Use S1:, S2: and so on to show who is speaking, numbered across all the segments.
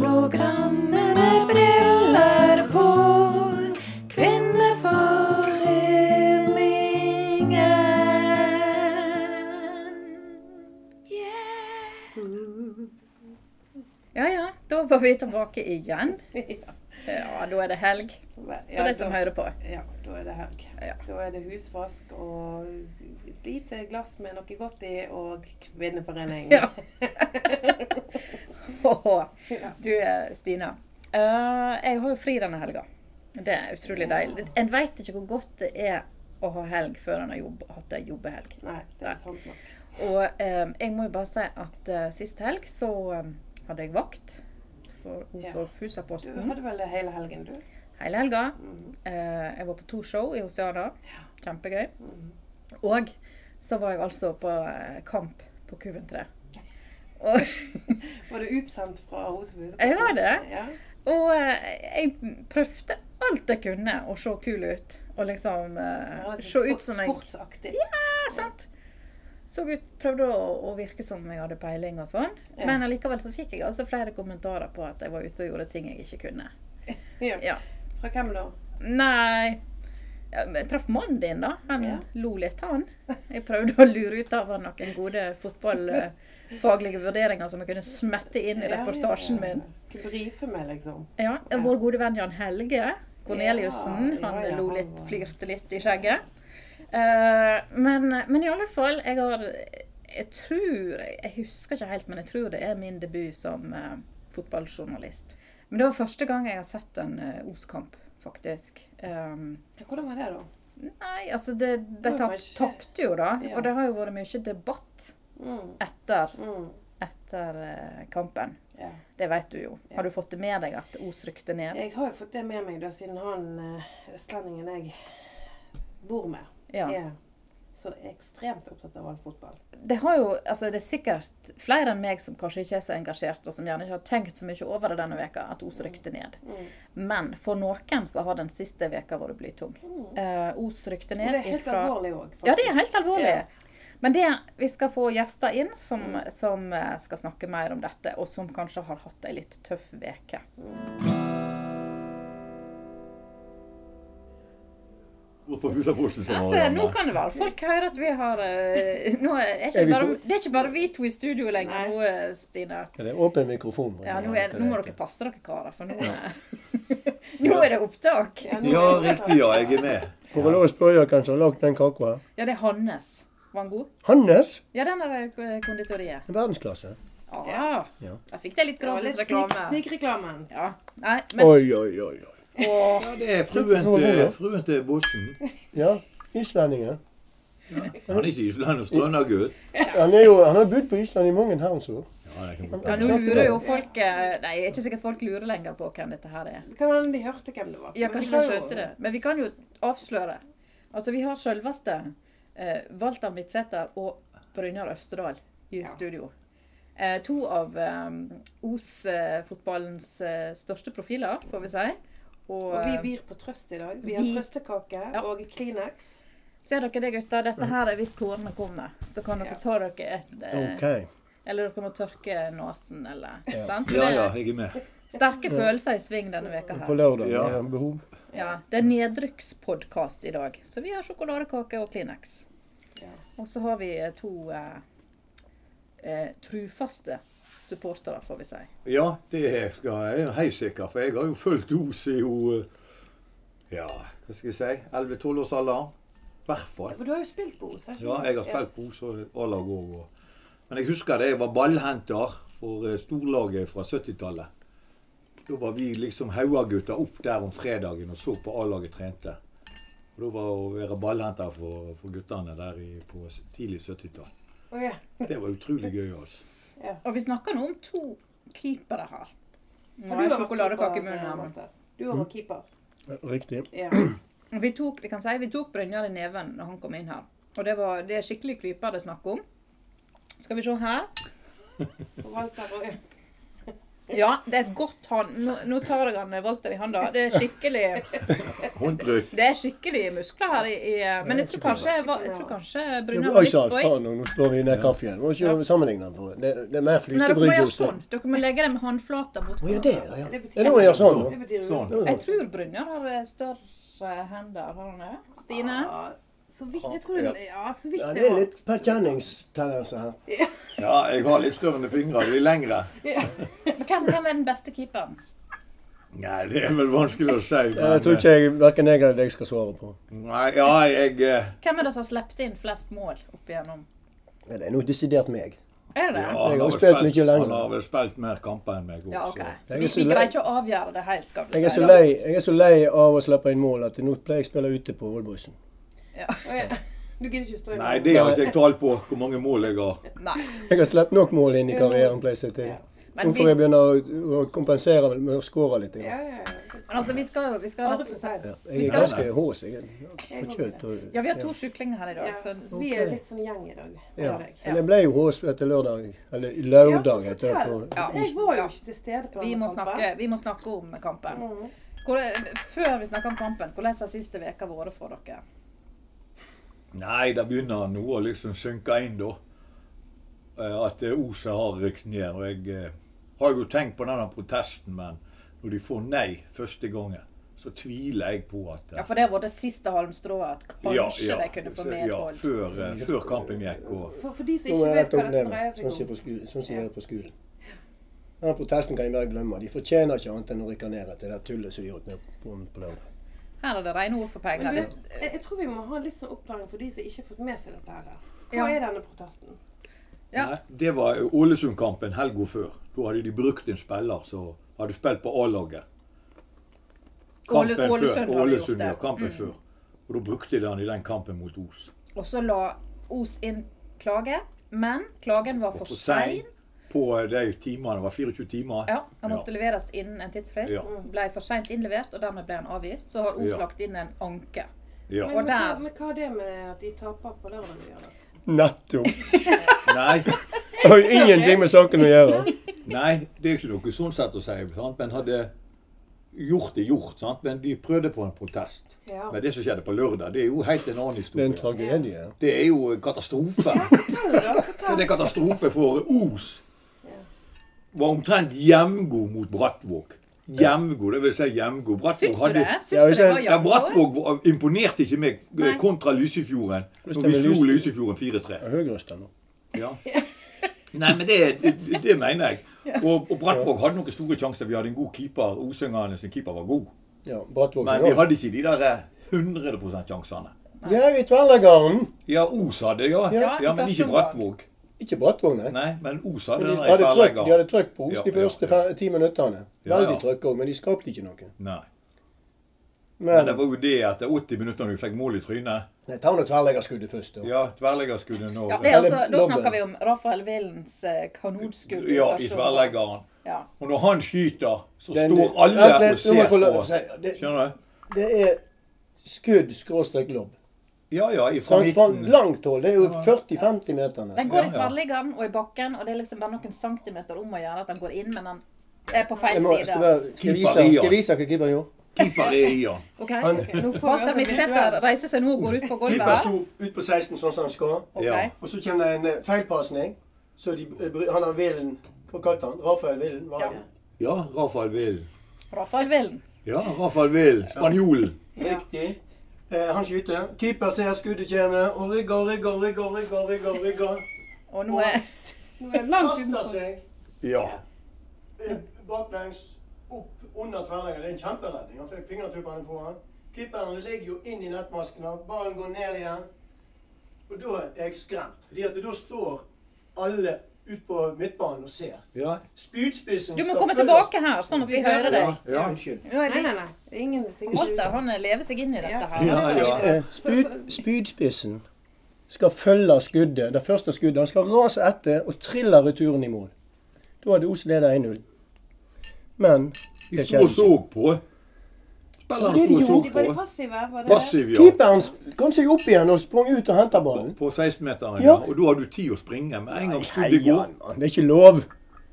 S1: Radioprogrammet med briller på. Kvinneforeningen. Ja ja, da var vi tilbake igjen. Ja, da er det helg for de som hører på.
S2: Ja, da er det helg.
S1: Ja.
S2: Da er det husvask og et lite glass med noe godt i og kvinneforening.
S1: Ja. Du eh, Stina, eh, jeg har jo fri denne helga. Det er utrolig
S2: Ja.
S1: deilig. En veit ikke hvor godt det er å ha helg før en har jobb, hatt ei jobbehelg.
S2: Nei, det er sant nok.
S1: Og eh, jeg må jo bare si at eh, sist helg så eh, hadde jeg vakt for hos
S2: Ja.
S1: og
S2: Du
S1: Fusaposten
S2: hadde vel det hele helgen, du?
S1: hele helga.
S2: Mhm.
S1: Eh, jeg var på to show i Oceana. Kjempegøy.
S2: Mhm.
S1: Og så var jeg altså på eh, kamp på Q3. Og
S2: Var du utsendt fra Rosehuset?
S1: Jeg var det.
S2: Ja.
S1: Og eh, jeg prøvde alt jeg kunne å se kul ut. Og liksom eh,
S2: Det var litt
S1: se
S2: sport-
S1: ut som jeg
S2: Sportsaktig.
S1: Ja, sant? Så ut, prøvde å, å virke som jeg hadde peiling og sånn.
S2: Ja.
S1: Men allikevel så fikk jeg altså flere kommentarer på at jeg var ute og gjorde ting jeg ikke kunne.
S2: Ja.
S1: Ja.
S2: Fra hvem da?
S1: Nei ja, men Jeg traff mannen din, da. Han
S2: Ja.
S1: lo litt, han. Jeg prøvde å lure ut av han noen gode fotballfaglige vurderinger som jeg kunne smette inn i
S2: Ja,
S1: reportasjen
S2: ja, ja.
S1: min.
S2: Kunne brife meg, liksom.
S1: Ja, Vår gode venn Jan Helge Korneliussen.
S2: Ja,
S1: han
S2: ja,
S1: lo
S2: han
S1: litt,
S2: var-
S1: flirte litt i skjegget. Eh, men, men i alle fall, jeg har Jeg tror Jeg husker ikke helt, men jeg tror det er min debut som eh, fotballjournalist. Men det var første gang jeg har sett en eh, Os-kamp, faktisk. Um,
S2: Ja, Hvordan var det, da?
S1: nei, altså det, De
S2: Det var
S1: tap,
S2: kanskje-
S1: tapte jo, da.
S2: Ja.
S1: Og det har jo vært mye debatt
S2: Mm.
S1: etter,
S2: Mm.
S1: etter eh, kampen.
S2: Ja.
S1: Det vet du jo.
S2: Ja.
S1: Har du fått det med deg at Os rykte ned?
S2: Jeg har jo fått det med meg da, siden han eh, østlendingen jeg bor med,
S1: Ja.
S2: er så ekstremt opptatt av all fotball.
S1: det, har jo, altså det er sikkert flere enn meg som kanskje ikke er så engasjert, og som gjerne ikke har tenkt så mye over det denne veka, at Os rykte ned.
S2: Mm.
S1: Men for noen så har den siste veka vært blytung. Eh, Os rykte
S2: Men
S1: ned
S2: Mm. det er helt
S1: ifra
S2: alvorlig òg,
S1: Ja, det er helt alvorlig.
S2: Ja.
S1: Men det, vi skal få gjester inn som, som eh, skal snakke mer om dette, og som kanskje har hatt ei litt tøff veke.
S3: Gå på Fusaposten som
S1: Altså,
S3: var
S1: nå
S3: hjemme.
S1: kan det være folk hører at vi har eh, nå er ikke
S4: Er vi
S1: bare,
S4: på?
S1: Det er ikke bare vi to i studio lenger nå, eh, Stina.
S4: Ja, det er åpen mikrofon.
S1: Ja, nå, er, nå må dere passe dere, karer, for nå, er- nå er det opptak.
S2: nå-
S3: Ja, riktig. Ja, jeg er med.
S4: Får vel lov å spørre hvem som har lagd den kaka.
S1: Ja, det er Hannes. Var han god?
S4: Hannes!
S1: Ja, den er eh, konditoriet.
S4: Det er Verdensklasse.
S1: Ah,
S4: Ja.
S1: jeg fikk det litt
S2: Det var
S1: gratis
S2: litt snik-
S1: reklame.
S2: snikreklamen.
S1: Ja, nei, men
S4: Oi, oi, oi. oi.
S1: Åh,
S3: Ja, det er fruen til, fruen til bossen.
S4: Ja, islendingen.
S3: Han er ikke islandsk trøndergutt.
S4: Han, er jo, han har bodd på Island i mange herrens år.
S3: Ja, det kan
S1: ja,
S3: godt
S1: nå lurer jo folk eh, Nei, det er ikke sikkert folk lurer lenger på hvem dette her er.
S2: Kan hende de hørte hvem det var.
S1: Ja,
S2: Men
S1: kanskje
S2: kan
S1: de
S2: jo-
S1: skjønte det. Men vi kan jo avsløre. Altså, vi har selveste eh, Walter Midtsæter og Brynjar Øvstedal i
S2: Ja.
S1: studio. Eh, to av eh, Os-fotballens eh, største profiler, får vi si. Og, eh,
S2: Og vi byr på trøst i dag. Vi har
S1: Vi-
S2: trøstekake
S1: Ja.
S2: og Kleenex.
S1: eh, Ser dere det, gutter? Dette her er hvis tårene kommer. Så kan dere
S2: Ja.
S1: ta dere et eh,
S4: OK.
S1: Eller dere må tørke nesen, eller
S4: Ja.
S1: sant?
S3: Ja, ja,
S1: Det
S3: jeg er med.
S1: er sterke følelser i sving denne veka
S4: På
S1: her.
S4: lørdag
S3: Ja.
S4: er det behov.
S1: Ja, det er nedrykkspodkast i dag, så vi har sjokoladekake og Kleenex.
S2: Ja.
S1: Og så har vi eh, to eh, eh, trufaste supportere, får vi si.
S3: Ja, det skal jeg er helt sikker, for jeg har jo fulgt Os i jo eh, Ja, hva skal jeg si 11-12 års alder. I hvert fall.
S2: For du har jo spilt på Os? har ikke
S3: Ja,
S2: du?
S3: jeg har spilt på Os og A-lag òg. og- Men jeg husker det, jeg var ballhenter for eh, storlaget fra 70-tallet. Da var vi liksom Hauga-gutter opp der om fredagen og så på A-laget trente. Og Da var å være ballhenter for, for guttene der i, på s- tidlig 70-tall.
S2: Å, ja.
S3: Det var utrolig gøy. altså.
S1: Og vi snakker nå om to keepere her. Nå
S2: Har du
S1: har jeg
S2: vært
S1: sjokoladekake i
S2: keeper,
S1: munnen. her.
S2: Walter? Du
S5: Mm.
S2: har vært keeper.
S4: Riktig.
S2: Ja.
S1: Og Vi tok, vi kan si, vi tok Brynjar i neven når han kom inn her. Og det, var, det er skikkelig klyper det er snakk om. Skal vi se her.
S2: Og Walter og
S1: Ja, det er et godt hånd... Nå, nå tar jeg han eh, Walter i hånda. Det er skikkelig
S3: Håndtrykk.
S1: Det er skikkelige muskler her i, i eh, Men jeg tror kanskje, jeg var- jeg tror kanskje
S5: Ja,
S1: Brynjar
S5: men
S1: var
S5: Oi
S1: litt
S5: sann,
S1: på i.
S5: faen, nå nå slår vi ned kaffen igjen. Må
S1: Ja.
S5: ikke sammenligne den. på. Det, det er
S1: Nei,
S5: mer
S1: dere må gjøre
S5: flytebryggjelse.
S1: sånn. Dere må legge det med håndflata mot
S5: Å ja, det, ja. ja.
S2: Det betyr-
S5: Ja, nå må jeg gjøre sånn.
S2: Det
S5: nå.
S2: betyr
S3: Sånn.
S5: Ja,
S1: Jeg
S5: ja.
S1: tror Brynjar har eh, større hender, har han det? Stine?
S2: Ja, så vidt jeg tror Ja, så vidt
S5: Ja,
S2: jeg
S5: det er
S2: var.
S5: litt Pat Jennings-tendenser her.
S3: Ja, jeg har litt større enn fingre. De er lengre.
S1: Men hvem, hvem er den beste keeperen?
S3: Nei, det er vel vanskelig å si. eh,
S5: Ja, Jeg tror ikke jeg, hverken jeg eller deg skal svare på.
S3: Nei, ja, jeg eh,
S1: Hvem er det som har sluppet inn flest mål opp igjennom?
S5: Ja, det er noe desidert meg.
S1: Er det det?
S3: ja, han
S5: Jeg har
S3: vel
S5: spilt mye lenger.
S3: Han har vel spilt mer kamper enn meg òg,
S1: Ja, ok. Så
S5: Jeg
S1: vi,
S5: er så
S1: vi
S5: lei-
S1: greier ikke å avgjøre det helt, kan du
S5: Jeg er
S1: si.
S5: så lei, jeg er så lei av å slippe inn mål at nå pleier jeg å spille ute på Oldboysen.
S2: Å, ja. Du gidder ikke å strø
S3: Nei, det har ikke jeg tall på, hvor mange mål jeg har.
S1: Nei.
S5: Jeg har sluppet nok mål inn i karrieren, pleier jeg å si til.
S1: Men,
S5: Nå
S1: vi,
S5: får jeg begynne å- å kompensere med å skåre litt.
S2: Ja,
S5: Ja.
S2: ja, ja.
S1: men altså, vi skal jo vi skal ha
S2: Aldri for seint.
S5: Jeg er
S1: skal-
S5: ganske hås. Jeg er for kjøtt. og-
S1: Ja, vi har to syklinger her i dag,
S2: Ja,
S1: så
S2: så vi er litt sånn gjeng i dag.
S5: Ja.
S2: hører jeg.
S5: Men jeg ble jo hås etter lørdag. Eller lørdag
S2: Ja, så
S5: etter
S2: fortell.
S5: på
S1: Ja.
S2: Jeg var jo ikke til stede på
S1: vi må,
S2: denne kampen.
S1: snakke, vi må snakke om kampen.
S2: Mhm.
S1: Hvor, før vi snakker om kampen, hvordan har siste veka vært for dere?
S3: Nei, da begynner han nå å liksom synke inn, da. Eh, At eh, Ose har rykket ned. Og jeg eh, har jo tenkt på denne protesten, men når de får nei første gangen, så tviler jeg på at eh,
S1: Ja, For det har vært det siste halmstrået at kanskje de kunne få
S3: så- Ja,
S1: medhold.
S3: før, eh, før kampen gikk. Og,
S2: For, for de som
S5: Nå
S2: ikke
S5: må jeg
S2: vet
S5: rette
S2: hva
S5: opp
S2: dette
S5: ned.
S2: dreier seg
S5: Sånn sier
S2: om
S5: på skolen- sånn sier jeg på skolen. Denne protesten kan jeg bare glemme. De fortjener ikke annet enn å rykke ned etter det tullet som de holdt ned på på lørdag.
S1: Her er det rene ord for
S2: Men du
S1: penger.
S2: vet, jeg, jeg tror vi må ha litt sånn oppklaring for de som ikke har fått med seg dette her. Hva
S1: Ja.
S2: er denne protesten?
S1: Ja.
S3: Nei, det var eh, Ålesund-kampen helga før. Da hadde de brukt en spiller som hadde spilt på A-laget.
S1: Åle-
S3: Kampen før-
S1: Ålesund hadde gjort
S3: Ålesund, ja,
S1: det. Mm.
S3: kampen før. Og da brukte de han i den kampen mot Os.
S1: Og så la Os inn klage, men klagen var for
S3: for
S1: sein.
S3: sein På de timene, det var 24 timer.
S1: Ja, Han måtte leveres innen en tidsfrist.
S3: Ja.
S1: Ble for seint innlevert, og dermed ble han avvist. Så har Os
S3: Ja.
S1: lagt inn en anke.
S3: Ja.
S2: Men, men, hva,
S1: der-
S2: men hva er det med at de taper på lørdag? å gjøre?
S5: Nettopp!
S3: Nei,
S5: Det har jo ingenting med saken å gjøre.
S3: nei, det er ikke noe sånn sett å si. Sant? Men hadde gjort det gjort. Sant? Men de prøvde på en protest.
S2: Ja.
S3: Men det som skjedde på lørdag, det er jo helt en annen
S5: Det er en
S3: historie.
S5: tragedie.
S3: Det er jo en katastrofe. Det er katastrofe for Os. Var omtrent hjemgod mot Brattvåg. Hjemgod, det vil si hjemgod. Brattvåg
S1: Syns du det?
S3: hadde
S1: Syns
S5: Ja,
S1: du
S5: hvis
S1: det
S5: jeg-
S1: var
S3: Ja,
S1: jammen?
S3: Brattvåg var- imponerte ikke meg eh,
S1: Nei.
S3: kontra Lysefjorden. Når
S5: Hvordan
S3: vi
S5: er
S3: slo
S5: Lyse-
S3: Lysefjorden 4-3.
S5: Jeg er Høyrøsta nå.
S3: Ja. Nei, men det, det, det mener jeg. Og, og Brattvåg hadde noen store sjanser. Vi hadde en god keeper. Osøngane sin keeper var god.
S5: Ja, Brattvåg
S3: Men
S5: sin
S3: vi
S5: også.
S3: hadde ikke de der eh, 100 %-sjansene.
S5: Ja, i Tverlagarden.
S3: Ja, Os hadde, ja.
S5: Ja,
S1: i
S3: ja men
S1: første
S3: ikke
S1: omgang.
S3: Brattvåg.
S5: Ikke Brattvåg, nei.
S3: Nei, men Os hadde
S5: Men de,
S3: den der i
S5: hadde trøkk, de hadde
S3: tverrleggeren.
S5: trøkk på Os de
S3: Ja,
S5: første
S3: ja,
S5: fe- ti minuttene.
S3: Ja,
S5: Veldig
S3: ja.
S5: trøkk òg, men de skapte ikke noe.
S3: Nei. Men
S5: Men
S3: det var jo det etter 80 minutter når vi fikk mål i trynet.
S5: Nei, ta nå tverrleggerskuddet først. Da.
S3: Ja, tverrleggerskuddet nå.
S1: Ja, det er altså, da
S5: Lobben.
S1: snakker vi om Rafael Willens eh, kanonskudd.
S3: Ja, i
S1: første omgang.
S3: tverrleggeren.
S1: Ja.
S3: Og når han skyter, så
S5: Den-
S3: står alle
S5: Vent litt,
S3: og
S5: nå må
S3: ser
S5: jeg få lov å
S3: på.
S5: si- det-
S3: Skjønner du?
S5: Det er skudd skråstrek lobb.
S3: Ja, ja, fra
S5: Sånn, Fra
S3: midten.
S5: langt hold. Det er jo 40-50 meter
S1: Den
S5: nesten.
S1: går
S3: Ja,
S1: i
S3: ja.
S1: tverrliggeren og i bakken, og det er liksom bare noen centimeter om å gjøre at den går inn, men den er på feil
S5: Jeg må, skal,
S1: side.
S5: bare, skal, jeg vise,
S3: Keeper i, ja.
S5: skal jeg vise hva keeper gjorde?
S3: Keeper er i han.
S1: Ok, Nå får Walter Midtsæter reise seg nå og går ut på gulvet
S5: Keeper
S1: her.
S5: sto ut på 16 sånn som han skal.
S1: Ok.
S3: Ja.
S5: Og så kommer det en eh, feilpasning. Så de, eh, bry- han har Villen Hva kalte han? Rafael Villen? Var han?
S3: Ja, Rafael Will.
S1: Rafael Willen.
S3: Ja, Rafael Will. Spanjolen.
S5: Riktig. Eh, han skyter. Keeper ser skuddet kommer og rygger og rygger og rygger. og rygger, og rygger, og rygger.
S1: Og nå er
S2: Nå er det langt
S5: Kaster
S2: utenfor.
S5: seg
S3: Ja.
S5: eh, baklengs opp under tverrleggeren. Det er en kjemperedning. Han fikk fingertuppene på han. Keeperen ligger jo inn i nettmaskene. Ballen går ned igjen. Og da er jeg skremt. fordi at da står alle ut på midtbanen og ser.
S3: Ja.
S5: Spydspissen
S1: Du må
S5: skal
S1: komme
S5: følges-
S1: tilbake her, sånn at vi hører
S3: Ja.
S1: deg.
S3: ja.
S5: Unnskyld.
S1: Nå er
S2: Nei,
S1: det
S2: nei, nei. det er Ingenting.
S1: Walter han lever seg inn i dette her.
S3: Ja,
S1: altså.
S3: ja.
S5: Eh, Spyd, spydspissen skal følge skuddet, det første skuddet. Han skal rase etter og trille returen i mål. Da hadde Os leder 1-0. Men
S3: De
S5: det
S3: sto og
S5: skjedde
S3: så
S5: ikke.
S3: på.
S5: Det
S3: Spillerne
S5: er de
S3: sto
S5: jo.
S3: og
S2: De var
S3: så
S2: de
S3: på.
S2: passive? Var det det?
S3: Passiv, ja.
S5: Keeperen kom seg opp igjen og sprang ut og hentet ballen.
S3: På 16-meteren,
S5: Ja.
S3: ja. Og da har du tid å springe. Med en gang skuddet
S5: Nei,
S3: går.
S5: ja, mann, Det er ikke lov.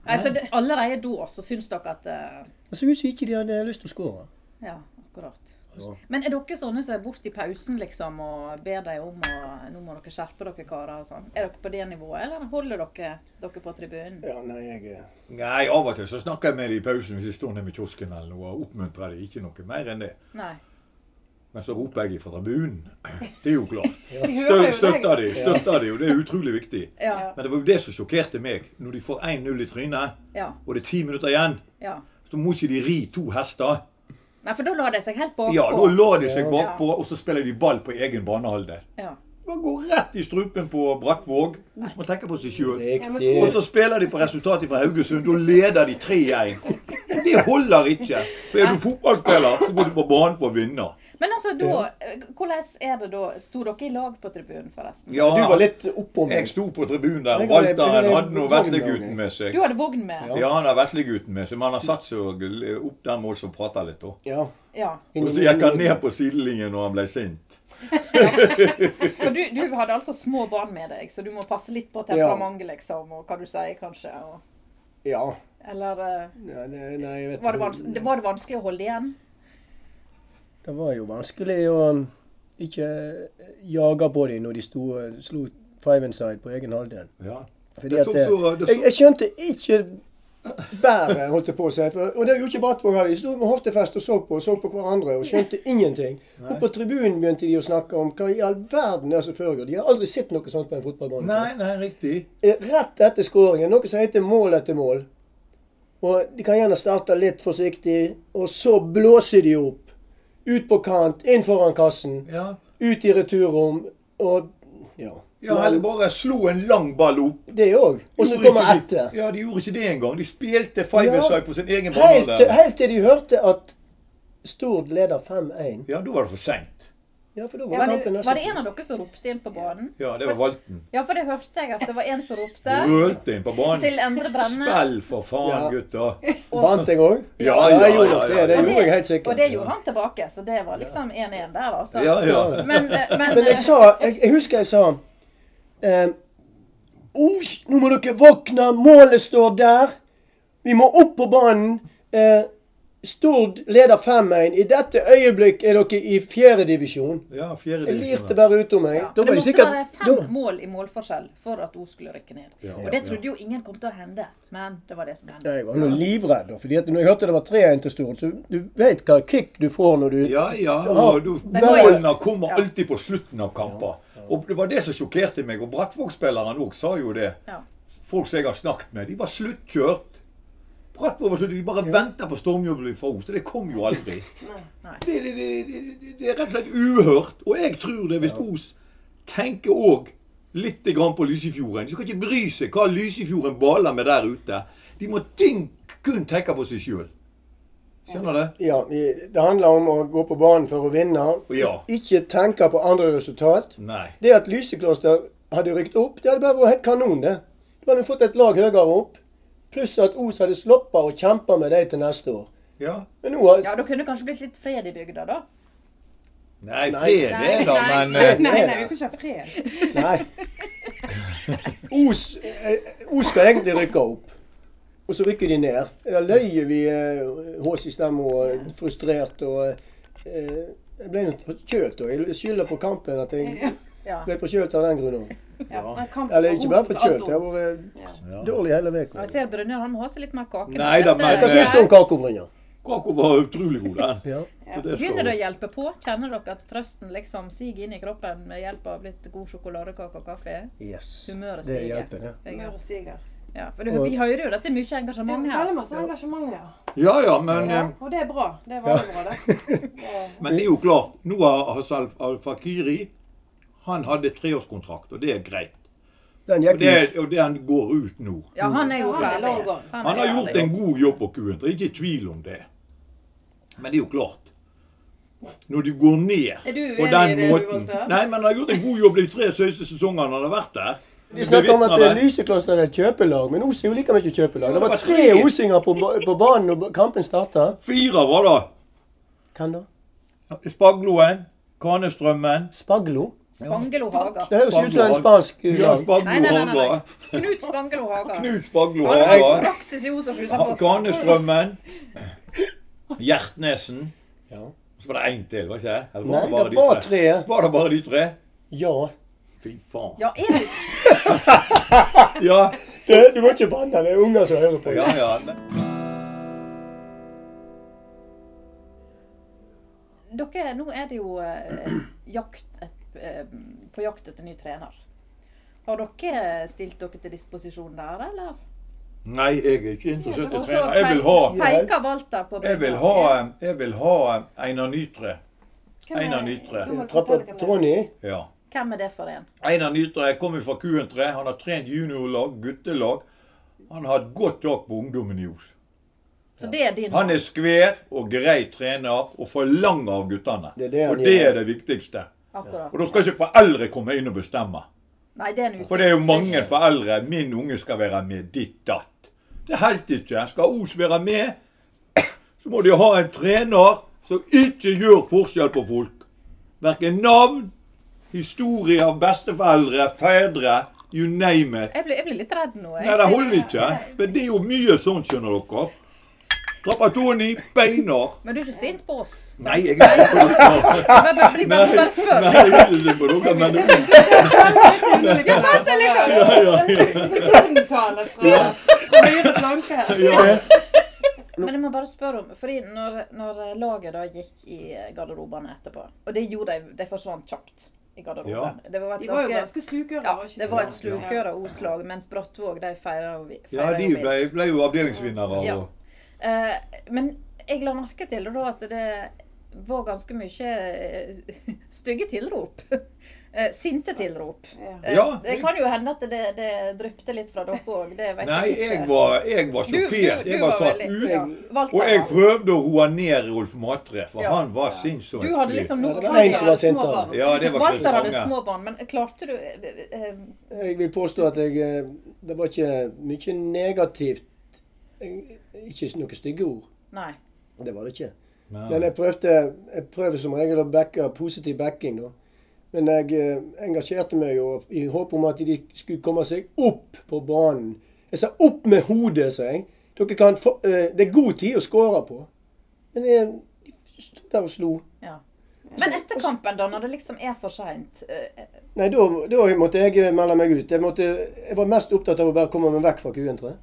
S1: Nei, så det, allerede da så syns dere at eh,
S5: Det så ut som ikke de hadde lyst til å skåre.
S1: Ja, akkurat.
S5: Ja.
S1: Men er dere sånne som er borte i pausen liksom, og ber dem om å nå må dere skjerpe dere karer og sånn? Er dere på det nivået, eller holder dere dere på tribunen?
S4: Ja, nei, jeg
S5: eh,
S4: er
S3: Nei, av og til så snakker jeg med dem i pausen hvis de står nede ved kiosken eller noe, og oppmuntrer dem. Ikke noe mer enn det.
S1: Nei.
S3: Men så roper jeg fra tribunen. Det er jo klart.
S2: Vi
S3: Stø-
S2: hører jo deg.
S3: Støtter de, støtter de, og det er utrolig viktig.
S1: Ja.
S3: Men det var jo det som sjokkerte meg. Når de får 1-0 i trynet,
S1: Ja.
S3: og det er ti minutter igjen,
S1: ja.
S3: så må ikke de ri to hester.
S1: Nei, for da la de seg helt bakpå.
S3: Ja, da la de seg bakpå, og så spiller de ball på egen banehalvdel.
S1: Ja.
S3: Bare gå rett i strupen på Brattvåg. Hun må tenke på seg sjøl.
S5: Riktig.
S3: Og så spiller de på resultatet fra Haugesund. Da leder de 3-1. Og Det holder ikke. For er du fotballspiller, så går du på banen for å vinne.
S1: Men altså, da eh, Hvordan er det da? Sto dere i lag på tribunen, forresten?
S3: Ja,
S5: Du var litt oppå
S3: jeg
S5: meg.
S3: sto på tribunen der,
S5: Jeg
S3: og
S5: var
S3: Walter
S5: det- jeg var
S3: han
S5: det-
S3: hadde nå veslegutten med seg.
S1: Du hadde vogn med?
S3: Ja, han har veslegutten med seg, men han har satt seg og l- opp der med oss og prata litt, da.
S5: Ja.
S1: Ja.
S3: Og så gikk han ned på sidelinjen når han ble sint.
S1: For du, du hadde altså små barn med deg, så du må passe litt på
S5: Ja.
S1: temperamentet, liksom, og hva du sier, kanskje. Og,
S5: Ja.
S1: eller eh,
S5: Nei, nei, nei, jeg vet
S1: var, det vans det- var det vanskelig å holde igjen?
S5: Det var jo vanskelig å um, ikke eh, jage på dem når de sto, eh, slo five inside på egen halvdel.
S3: Ja.
S5: Fordi
S3: Det
S5: at,
S3: så-
S5: eh,
S3: så- det så-
S5: jeg, jeg skjønte ikke bæret, holdt jeg på å si. For, og det gjorde ikke Brattborg heller. De sto med hoftefest og så på og så på hverandre og skjønte ingenting. Og på tribunen begynte de å snakke om hva i all verden er som foregår. De har aldri sett noe sånt på en fotballbane.
S3: Nei, nei, riktig.
S5: Eh, Rett etter skåringen, noe som heter mål etter mål. Og de kan gjerne starte litt forsiktig, og så blåser de opp. Ut på kant, inn foran kassen,
S3: Ja.
S5: ut i returrom og Ja.
S3: ja eller bare slo en lang ball opp.
S5: Det òg. Og så
S3: Gjorde
S5: kommer
S3: ikke de-
S5: etter.
S3: Ja, de gjorde ikke det engang. De spilte five
S5: Ja.
S3: aside på sin egen
S5: Helt, til-
S3: banehalvdel.
S5: helt til de hørte at Stord leder 5-1.
S3: Ja, da var det for seint.
S5: Ja, for da var
S1: Var det,
S5: kampen
S1: var det en
S5: nesten
S1: av dere som ropte inn på banen?
S3: Ja, det var Valten.
S1: Ja, for det hørte jeg at det var en som ropte
S3: Rølte inn på banen.
S1: til Endre Brenne.
S3: Spill, for faen,
S5: Ja.
S3: gutter.
S5: Vant jeg òg?
S3: Ja,
S5: Ja, jeg
S3: ja,
S5: gjorde
S3: ja,
S5: nok
S3: ja, ja.
S5: det. Det
S1: Og
S5: gjorde jeg helt
S1: Og
S5: sikkert.
S1: det gjorde han tilbake, så det var liksom 1-1 der, altså.
S3: Ja, ja.
S1: Men, eh, men,
S5: Men jeg sa Jeg, jeg husker jeg sa ehm, «Os, nå må dere våkne! Målet står der! Vi må opp på banen! Eh, Stord leder 5-1. I dette øyeblikk er dere i fjerdedivisjon.
S3: Ja, fjerde
S5: Jeg lirte
S3: divisjon.
S5: bare utom meg.
S1: ja,
S5: Da
S1: for det
S5: var de
S1: måtte
S5: sikkert
S1: være fem
S5: da-
S1: mål i målforskjell for at O skulle rykke ned.
S3: Ja.
S1: og det trodde jo ingen kom til å hende, men det var det som
S5: Ja,
S1: hendte.
S5: Jeg var nå livredd, da. fordi at når jeg hørte det var 3-1 til Stord, så du vet hva kick du får når du
S3: Ja, ja. Og du,
S1: Nei, boys.
S3: målene kommer alltid på slutten av kamper. Og det var det som sjokkerte meg. Og Brattvåg-spilleren òg sa jo det.
S1: Ja.
S3: Folk som jeg har snakket med, de var sluttkjørt. Brattvåg var slutt, De bare venta på stormjubelen fra Os. og Det kom jo aldri.
S1: Nei.
S3: Det, det, det, det, det er rett og slett uhørt. Og jeg tror det, hvis Os tenker òg litt grann på Lysefjorden De skal ikke bry seg hva Lysefjorden baler med der ute. De må ting kun tenke på seg sjøl. Skjønner du?
S5: Ja, vi- det handler om å gå på banen for å vinne.
S3: Ja.
S5: Ikke tenke på andre resultat.
S3: Nei.
S5: Det at Lysekloster hadde rykt opp, det hadde bare vært helt kanon, det. Da hadde vi fått et lag høyere opp. Pluss at Os hadde sluppet å kjempe med dem til neste år.
S3: Ja.
S5: Men nå har
S1: Ja, da kunne det kanskje blitt litt fred i bygda, da.
S3: Nei, fred
S2: Nei,
S3: er da,
S2: nei,
S3: men
S2: nei,
S3: eh,
S2: nei, nei, vi skal ikke ha fred.
S5: Nei. Os, eh, Os skal egentlig rykke opp. Og så rykker de ned. Da løy vi eh, hås i stemmen og eh, frustrert og eh, Jeg ble nå forkjølt og jeg skylder på kampen at jeg
S1: Ja.
S5: ble forkjølt av den grunn òg.
S2: Men kampen
S5: Eller ikke bare
S2: mot
S5: forkjølt, jeg
S2: Otto.
S5: har vært
S3: Ja.
S5: dårlig hele uka.
S1: Jeg ser Brynjar han må ha seg litt mer kake.
S3: Nei da, men-
S5: Hva syns du om kakebrynja?
S3: Kako var utrolig god, den.
S5: Ja.
S1: Eh,
S3: Og det skal
S1: Begynner
S3: hun.
S1: det å hjelpe på? Kjenner dere at trøsten liksom siger inn i kroppen med hjelp av litt god sjokoladekake og kaffe?
S5: Yes.
S1: Humøret
S5: Det
S1: stiger.
S5: hjelper, det.
S1: Det er godt.
S2: Humøret stiger.
S1: Ja, for du, vi hører jo dette er mye
S2: Det
S1: engasjement
S2: er
S1: her.
S2: veldig masse engasjement, ja.
S3: Ja ja, men,
S2: ja.
S3: eh,
S2: Og det er bra. Det er veldig bra, det. Og-
S3: men det er jo klart. Nå har Hassal Al-Fakiri Han hadde treårskontrakt, og det er greit.
S5: Den
S3: Og
S5: gikk
S3: det,
S5: ut.
S3: og det han går ut nå.
S1: Ja, han er jo
S2: Ja, han er
S1: ferdig.
S2: lang gang.
S1: er
S3: Han har gjort
S1: ferdig.
S3: en god jobb på kuen, det er ikke tvil om det. Men det er jo klart. Når du går ned
S2: Er du uenig
S3: på
S2: i
S3: den
S2: det du
S3: måten
S2: valgte?
S3: Nei, men han har gjort en god jobb de tre siste sesongene han har vært der.
S5: De snakker om at
S3: Bevitner
S5: eh,
S3: det.
S5: Lysekloster er et kjøpelag, men Os er jo like mye kjøpelag. Det var tre
S3: tre.
S5: osinger på, ba- på banen når kampen starta.
S3: Fire var det.
S5: Hvem da?
S3: Spagloen, Kanestrømmen,
S5: Spaglo?
S1: Spangelo Haga.
S5: Det høres ut som en spansk
S3: Bjørn
S5: lag.
S1: Nei, nei,
S3: Spaglo
S1: nei, nei, nei.
S3: Haga.
S1: Knut Spangelo Haga.
S3: Knut Spaglo
S1: Han har
S3: Haga.
S1: praksis i Josef Husaposten.
S3: Ganestrømmen. Hjertnesen.
S5: Ja.
S3: Så var det én til, var det ikke? Eller
S5: Nei,
S3: bare
S5: det
S3: de
S5: var tre.
S3: Var det bare de tre?
S5: Ja.
S3: Fy faen.
S1: Ja, er det
S3: Ja,
S5: Du, du må ikke banne, det er unger som hører på.
S3: ja. ja.
S1: Dere, nå er det jo eh, jakt et, eh, på jakt etter ny trener. Har dere stilt dere til disposisjon der, eller?
S3: Nei, jeg er ikke interessert i
S1: Og så
S3: trener. Jeg vil ha
S1: pe- Peker Walter på
S3: jeg vil ha, jeg vil ha Einar Nytre.
S1: Hvem er-
S3: Einar Nytre.
S1: Du må
S5: Trappa
S1: fortelle hvem det er.
S5: Tronny.
S3: Ja.
S1: Hvem er det for en?
S3: Einar Nytre kommer fra Q3. Han har trent juniorlag, guttelag. Han har et godt tak på ungdommen i Os.
S1: Så det er din
S3: Han er skvær og grei trener og forlanger av guttene.
S5: Det er det han
S3: og det
S5: gjør.
S3: er det viktigste.
S1: akkurat.
S3: Og da skal ikke foreldre komme inn og bestemme.
S1: Nei, det er en utvikling.
S3: For det er jo mange foreldre 'Min unge skal være med ditt datt'. Det helt ikke. Skal Os være med, så må de ha en trener som ikke gjør forskjell på folk. Verken navn, historie av besteforeldre, fedre, you name it.
S1: Jeg blir, jeg blir litt redd nå. jeg.
S3: Nei, det holder ikke. Men det er jo mye sånn, skjønner dere. Trappatoni, beinar.
S1: Men du er ikke sint på oss?
S3: Nei, jeg er ikke på dere.
S1: Jeg bare, bare, bare, bare spør.
S3: Nei, jeg er ikke på dere, men det er
S1: Ja, sant, det er liksom.
S3: ja, ja, ja.
S2: Omtale fra, altså. fra høyre flanke.
S1: Men jeg må bare spørre om Fordi når, når laget da gikk i garderobene etterpå Og det gjorde de, de forsvant kjapt i garderoben. Det var et
S2: De var jo
S1: ganske
S2: ganske slukører.
S1: ja,
S2: var ikke
S1: det
S2: de?
S1: var et slukøre Os-lag, mens Brattvåg de feirer jo vi-
S3: ja
S1: feirer
S3: de
S1: jo
S3: ble,
S1: vilt.
S3: ble jo avdelingsvinnere.
S1: Ja.
S3: Og,
S1: Eh, men jeg la merke til da at det var ganske mye eh, stygge tilrop. Eh, Sinte tilrop.
S2: Ja.
S1: Eh,
S3: Ja.
S1: Det kan jo hende at det, det dryppte litt fra dere òg. Det vet
S3: nei,
S1: ikke.
S3: jeg var, jeg var
S1: Du- du-
S3: sjokkert.
S1: du
S3: Jeg var
S1: var
S3: satt
S1: veldig-
S3: ut.
S1: ja. Walter
S3: Og jeg
S1: var-
S3: prøvde å roe ned Rolf Matre, for
S1: Ja.
S3: han var sinnssyk.
S1: Du hadde liksom
S5: Ja,
S1: noe
S5: det var en som var
S2: Små
S5: sintere.
S2: barn.
S3: Ja, det var
S1: Walter hadde
S3: Kristian Sange.
S1: små barn, men klarte du eh, eh,
S5: Jeg vil påstå at jeg, eh, det var ikke mye negativt. Jeg- Ikke noen stygge ord.
S1: Nei.
S5: Det var det ikke.
S3: Nei.
S5: Men jeg prøvde, jeg prøver som regel å backe positiv backing, da. Men jeg eh, engasjerte meg jo i håp om at de skulle komme seg opp på banen. Jeg sa 'opp med hodet', sa jeg. Dere kan få, eh, det er god tid å skåre på. Men jeg sto der og slo.
S1: Ja. Men etter kampen, da, når det liksom er for seint eh,
S5: Nei, da, da måtte jeg melde meg ut. Jeg, måtte, jeg var mest opptatt av å bare komme meg vekk fra Q1-3.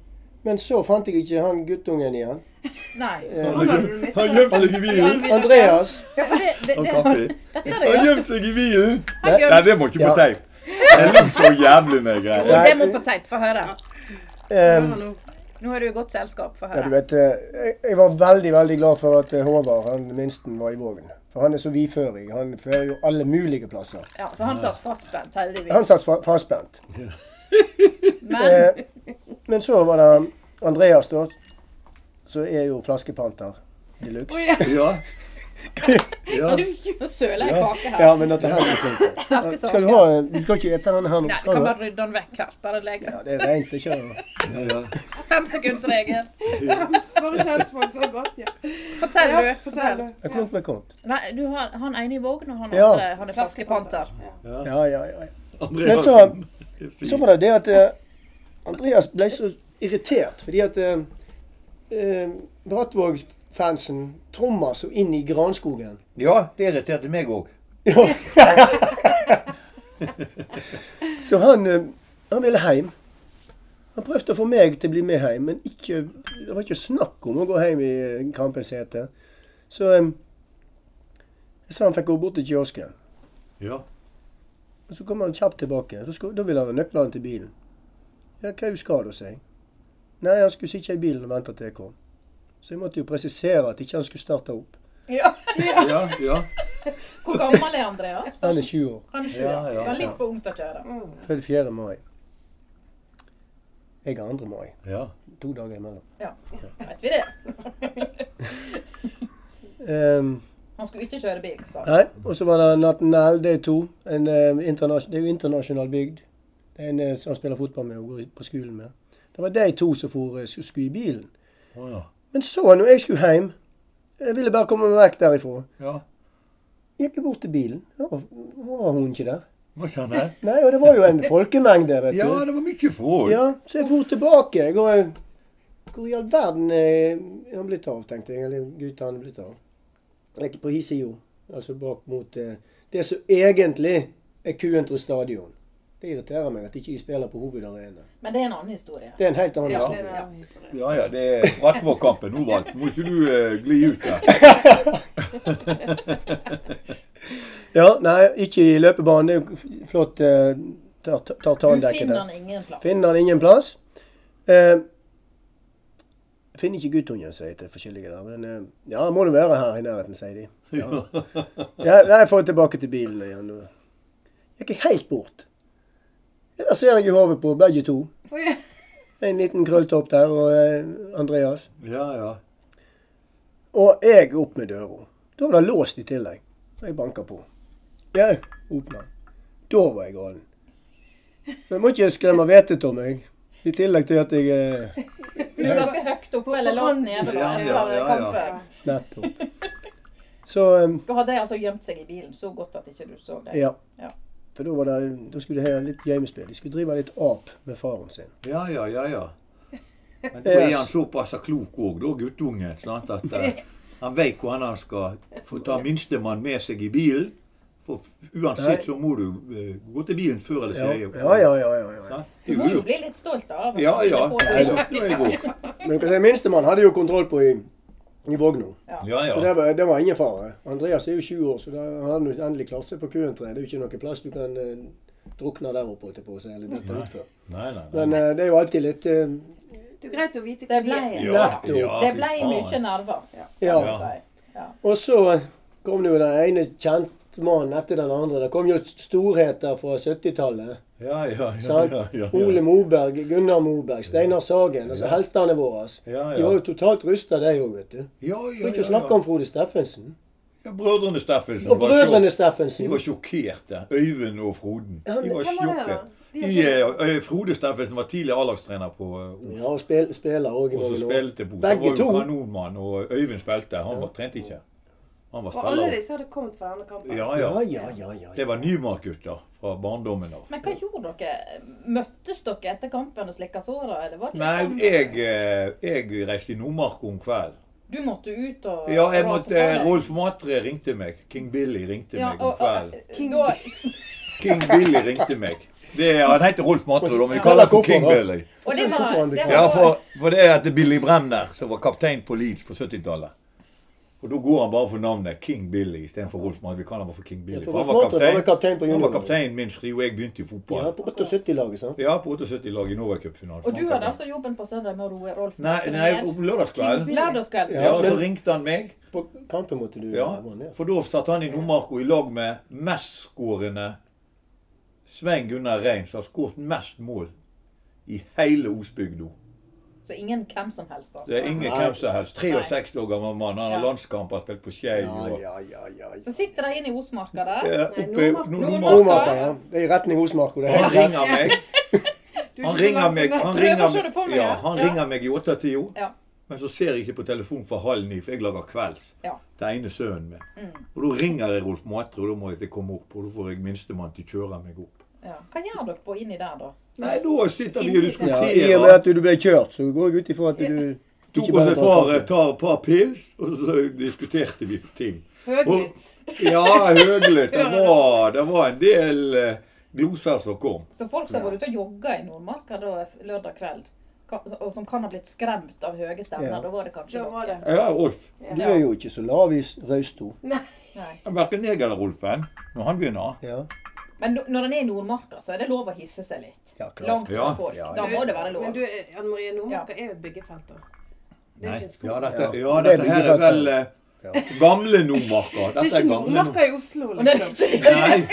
S5: Men så fant jeg ikke han guttungen igjen.
S1: Nei.
S2: Han hadde du mistet.
S3: Han gjemte seg i bilen.
S5: Andreas.
S1: Ja, for det, det,
S3: Og
S1: det,
S3: kaffe.
S1: dette er det
S3: Han
S1: jo
S3: gjemte seg i bilen.
S1: Han gjør-
S3: Nei, det må ikke på
S5: Ja.
S3: teip. Jeg lo så jævlig med
S1: Jo,
S3: greier.
S1: Det må på teip. Få høre.
S5: ehm,
S2: Nå,
S1: Nå er du i godt selskap. Få
S5: Ja,
S1: høre.
S5: du vet, eh, jeg, jeg var veldig veldig glad for at eh, Håvard, han minsten, var i Vågen. For han er så vidførig. Han fører jo alle mulige plasser.
S1: Ja, så han satt fastspent,
S5: Han
S1: heldigvis.
S5: satt fa- fastspent.
S1: Men
S5: Eh, men så var det Andreas, da. Som er jo flaskepanter de luxe.
S3: Ja. Ja.
S1: Nå søler jeg kake her.
S5: Ja, men dette her er ikke
S1: Snakke så.
S5: Skal du ha eh, Du skal ikke ete denne her nå?
S1: Nei, vi
S5: Skal
S1: kan
S5: du?
S1: bare rydde den vekk her. Bare legg
S5: Ja, det er rent. Det kjører.
S3: Ja, ja.
S1: Femsekundsregel.
S2: Bare kjentfolk så godt, ja.
S1: Fortell,
S2: Ja,
S1: du.
S2: fortell
S1: Fortell.
S2: du.
S5: Jeg kom meg kort.
S1: Nei, du har han ene i Vågen, og han
S5: Ja.
S1: andre han er flaskepanter.
S5: Ja, ja, ja.
S3: Andreasen.
S5: Men så-
S3: Det er fint.
S5: Så var det det at eh, Andreas ble så irritert fordi at eh, eh, Brattvåg-fansen trommer så inn i granskogen.
S3: Ja, det irriterte meg òg.
S5: Ja. så han, eh, han ville hjem. Han prøvde å få meg til å bli med hjem, men ikke, det var ikke snakk om å gå hjem i eh, kampens hete. Så eh, jeg sa han fikk gå bort til kiosken.
S3: Ja.
S5: Og så kom han kjapt tilbake. Så skulle, da ville han ha nøklene til bilen. Ja, hva skal du si? Nei, han skulle sitte i bilen og vente til jeg kom. Så jeg måtte jo presisere at ikke han skulle starte opp.
S1: Ja.
S3: Ja, ja.
S1: Hvor gammel er Andreas?
S5: Han er 20 år.
S1: Han er sju,
S3: Ja,
S1: ja.
S3: ja,
S1: Så han er
S3: ja.
S1: litt for ung til å kjøre.
S5: Født 4. mai. Jeg er 2. mai.
S3: ja.
S5: To dager imellom.
S1: Vet vi det?
S5: Ehm,
S1: Han skulle ikke kjøre bil, sa han.
S5: nei, og så var det Nathaniel, det er to. En, eh, internasjon- det er jo internasjonal bygd. Det er En eh, som han spiller fotball med og går i- på skolen med. Det var de to som for, eh, som skulle i bilen.
S3: Å, ja.
S5: Men så, når jeg skulle hjem Jeg ville bare komme meg vekk derifra.
S3: ja.
S5: Gikk jeg bort til bilen. Da var, da var hun ikke der.
S3: Var ikke han der?
S5: Nei, og det var jo en folkemengde, vet du.
S3: Ja, det var mye folk.
S5: Ja, så jeg for tilbake. Jeg, og eh, hvor i all verden er han blitt av, tenkte jeg. Eller gutta han er blitt av. Jeg er på Hisio, altså bak mot eh, det som egentlig er kuen til stadion. Det irriterer meg at ikke de spiller på hovedarenaen.
S1: Men det er en annen historie.
S5: Det er en helt annen
S2: Ja,
S5: historie.
S2: ja. historie.
S3: Ja ja, det er Brattvåg-kampen nå, Valt. Må ikke du eh, gli ut der.
S5: Ja, nei, ikke i løpebanen. Det er jo f- flott eh, tar-
S1: Du
S5: tartandekket
S1: finner
S5: der.
S1: den ingen plass.
S5: Finner han ingen plass. Eh, finner ikke guttungen, sier jeg til forskjellige der. Men eh, ja, må det være her i nærheten, sier de. Ja. Ja, nei, jeg får tilbake til bilen igjen. og Jeg gikk helt bort. Ja, der ser jeg i hodet på begge to.
S1: Oi.
S5: En liten krølltopp der og eh, Andreas.
S3: Ja ja.
S5: Og jeg opp med døra. Da var det låst i tillegg. Og jeg banka på. Ja, åpna. Da var jeg galen. Men må ikke skremme vettet om meg. I tillegg til at jeg eh,
S1: Du er ganske høyt oppe eller lavt nede da,
S3: Ja, ja,
S1: under
S3: ja, ja.
S1: kampen.
S5: Nettopp. Så eh,
S1: Da hadde jeg altså gjemt seg i bilen så godt at ikke du så det.
S5: ja.
S1: Ja.
S5: For da, var det, da skulle de ha litt gjemmespill. De skulle drive litt ap med faren sin.
S3: Ja ja, ja ja. Men da er han såpass klok òg, da, guttungen. Sant? At eh, han veit hvor han skal få ta minstemann med seg i bilen. For uansett så må du eh, gå til bilen før eller
S5: Ja,
S3: siden.
S5: ja, ja. ja, ja, ja.
S3: Sant?
S1: Du
S3: Det
S1: må
S3: er
S1: jo
S3: jo lurt.
S1: bli litt stolt av
S3: Ja ja.
S1: På
S3: Det
S1: det.
S3: er jeg også.
S5: Men du kan si, minstemann hadde jo kontroll på i, i Vågno.
S3: Ja
S5: Så det
S3: ja.
S5: var, det var ingen fare. Andreas er jo 20 år, så da har han jo endelig klart seg på køen. Det er jo ikke noe plass du kan eh, drukne der oppe, holdt jeg på å si, eller dette utfor.
S3: Nei, nei, nei.
S5: Men eh, det er jo alltid litt eh,
S2: Det er greit å vite
S1: Det
S2: hvor
S1: ble,
S2: vi er.
S3: Ja,
S5: Nettopp.
S3: ja,
S1: det
S3: fy
S1: ble
S3: faen.
S1: mye nerver.
S5: Ja.
S1: kan man si.
S5: Og så kom det jo den ene kjentmannen etter den andre. Det kom jo storheter fra 70-tallet.
S3: Ja, ja, ja,
S5: Sant?
S3: ja, ja,
S5: Ole
S3: ja.
S5: Moberg, Gunnar Moberg, Steinar Sagen. Altså heltene våre.
S3: Ja, ja.
S5: De var jo totalt rusta, de òg, vet du.
S3: Ja, ja,
S5: For ikke å
S3: ja,
S5: snakke om Frode Steffensen.
S3: ja. Brødrene Steffensen.
S5: Og
S3: var
S5: brødrene
S3: sjokk-
S5: Steffensen.
S3: De var sjokkerte. Øyvind og Froden. De
S5: Ja, men
S3: var
S2: hvem var det da?
S3: sjokkerte.
S2: De er
S3: De, eh, eh, Frode Steffensen var tidligere A-lagstrener på eh,
S5: Ja, og spil, spiller òg i
S3: Og så
S5: mange år.
S3: spilte Bo. Så
S5: Begge
S3: var jo
S5: to.
S3: kanonmann, og Øyvind spilte. Han var, trente ikke. Han var
S2: Og alle
S3: spiller.
S2: disse hadde kommet fra denne kampen.
S3: Ja,
S5: Ja,
S3: ja.
S5: ja, ja. ja.
S3: Det var Nymark-gutter fra barndommen av.
S1: Men hva gjorde dere? Møttes dere etter kampen og slikka såra, eller var det
S3: Nei,
S1: liksom
S3: jeg, eh, jeg reiste i Nordmark om kvelden.
S1: Du måtte ut og
S3: Ja, jeg
S1: rase
S3: måtte,
S1: på deg?
S3: Rolf Matre ringte meg. King Billy ringte
S1: Ja,
S3: meg om
S1: og, og,
S3: kvelden.
S1: King da,
S3: King Billy ringte meg. Det, er- han heter Rolf Matre, da, men vi kaller ham for King
S5: Hvorfor da?
S3: Billy.
S1: og det var,
S5: Hvorfor han
S1: det
S5: blir-
S1: var
S3: Ja, for, for det er at Billy Bremner, som var kaptein på Leeds på 70-tallet. Og da går han bare for navnet King Billy istedenfor Rolf Matre. Vi kaller ham bare for King Billy.
S5: Ja, for
S3: For han
S5: Rolf
S3: var
S5: Matre
S3: kaptein,
S5: var kaptein på
S3: han var
S5: juniorlaget.
S3: kaptein min skri, og jeg begynte i fotball.
S5: Ja, på 78-laget, sant.
S3: Ja, på 78-laget i Novacupfinalen.
S1: Og du hadde Sånn altså jobben på søndag med å roe Rolf
S3: Nei, nei om lørdagskvelden.
S1: Lørdagskveld.
S3: Ja, så
S5: men-
S3: ringte han meg.
S5: På kampen måtte du
S3: Ja,
S5: var ned.
S3: For da satt han i Nordmarko i lag med mestskårende Svein Gunnar Rein, som har skåret mest mål i hele Osbygda.
S1: Så ingen hvem som helst, altså.
S3: Det er ingen
S5: Nei.
S3: hvem som helst. 63 år gammel mann. Han har
S1: Ja.
S3: landskamp, har spilt på Skei.
S5: Ja,
S3: og-
S5: ja, ja, ja.
S1: Så sitter de inne i Osmarka der.
S3: Eh,
S2: Nei,
S3: oppe i
S2: Nordmark-
S3: Nordmark.
S5: Nordmarka, ja. Det er i retning Osmarka. Det er
S3: Han
S5: helt rett.
S3: ringer meg.
S2: Du er
S3: Han
S2: ikke så
S3: ringer
S2: langt
S3: meg,
S2: unna.
S3: han
S1: Prøv å
S3: ringer
S1: se det for
S3: meg,
S1: meg,
S3: ja,
S1: ja.
S3: han
S1: Ja.
S3: ringer meg i 8-10,
S1: Ja.
S3: men så ser jeg ikke på telefonen for halv ni, for jeg lager kvelds.
S1: Ja.
S3: Det ene sønnen min. Og da ringer jeg Rolf Matre, og da må jeg komme opp, og da får jeg minstemann til å kjøre meg opp.
S1: Ja. Hva gjør dere på inni der, da?
S3: Nei, da sitter vi og
S5: Ja, I og med
S3: diskuterer.
S5: at du ble kjørt, så går jeg ut ifra at du
S3: Tok oss et
S5: tar
S3: par, eh,
S5: kaffe.
S3: tar et par pils, og så diskuterte vi ting.
S2: Høglytt.
S3: Ja, høglytt. Det var, det var en del eh, gloser som kom.
S1: Så folk som har vært ute og jogga i Nordmarka da lørdag kveld, kan- og som kan ha blitt skremt av høye stemmer,
S5: Ja.
S1: da var det kanskje
S2: Da var det.
S3: Ja, Rolf.
S5: Du er jo ikke så lav i Rausto.
S2: Nei.
S1: Nei.
S3: Verken jeg eller Rolfen, når han begynner.
S5: Ja.
S1: Men no- når en er i Nordmarka, så er det lov å hisse seg litt.
S5: Ja, klart.
S1: Langt fra
S3: Ja.
S1: folk.
S5: Ja,
S1: Da må det være
S2: Men
S1: lov.
S2: du, Anne Marie Nordmarka er jo et byggefelt, da. Det er
S3: Nei.
S2: ikke en skog.
S3: Ja, dette,
S5: Ja.
S3: ja,
S5: Det er
S3: dette her er
S5: byggefeltet.
S3: vel eh, gamle Nordmarka.
S2: det
S3: Dette
S2: er
S3: er
S2: ikke
S3: gamle
S2: Nordmarka i Oslo,
S1: Og det er
S2: liksom.
S1: ikke-
S3: Nord- Nei.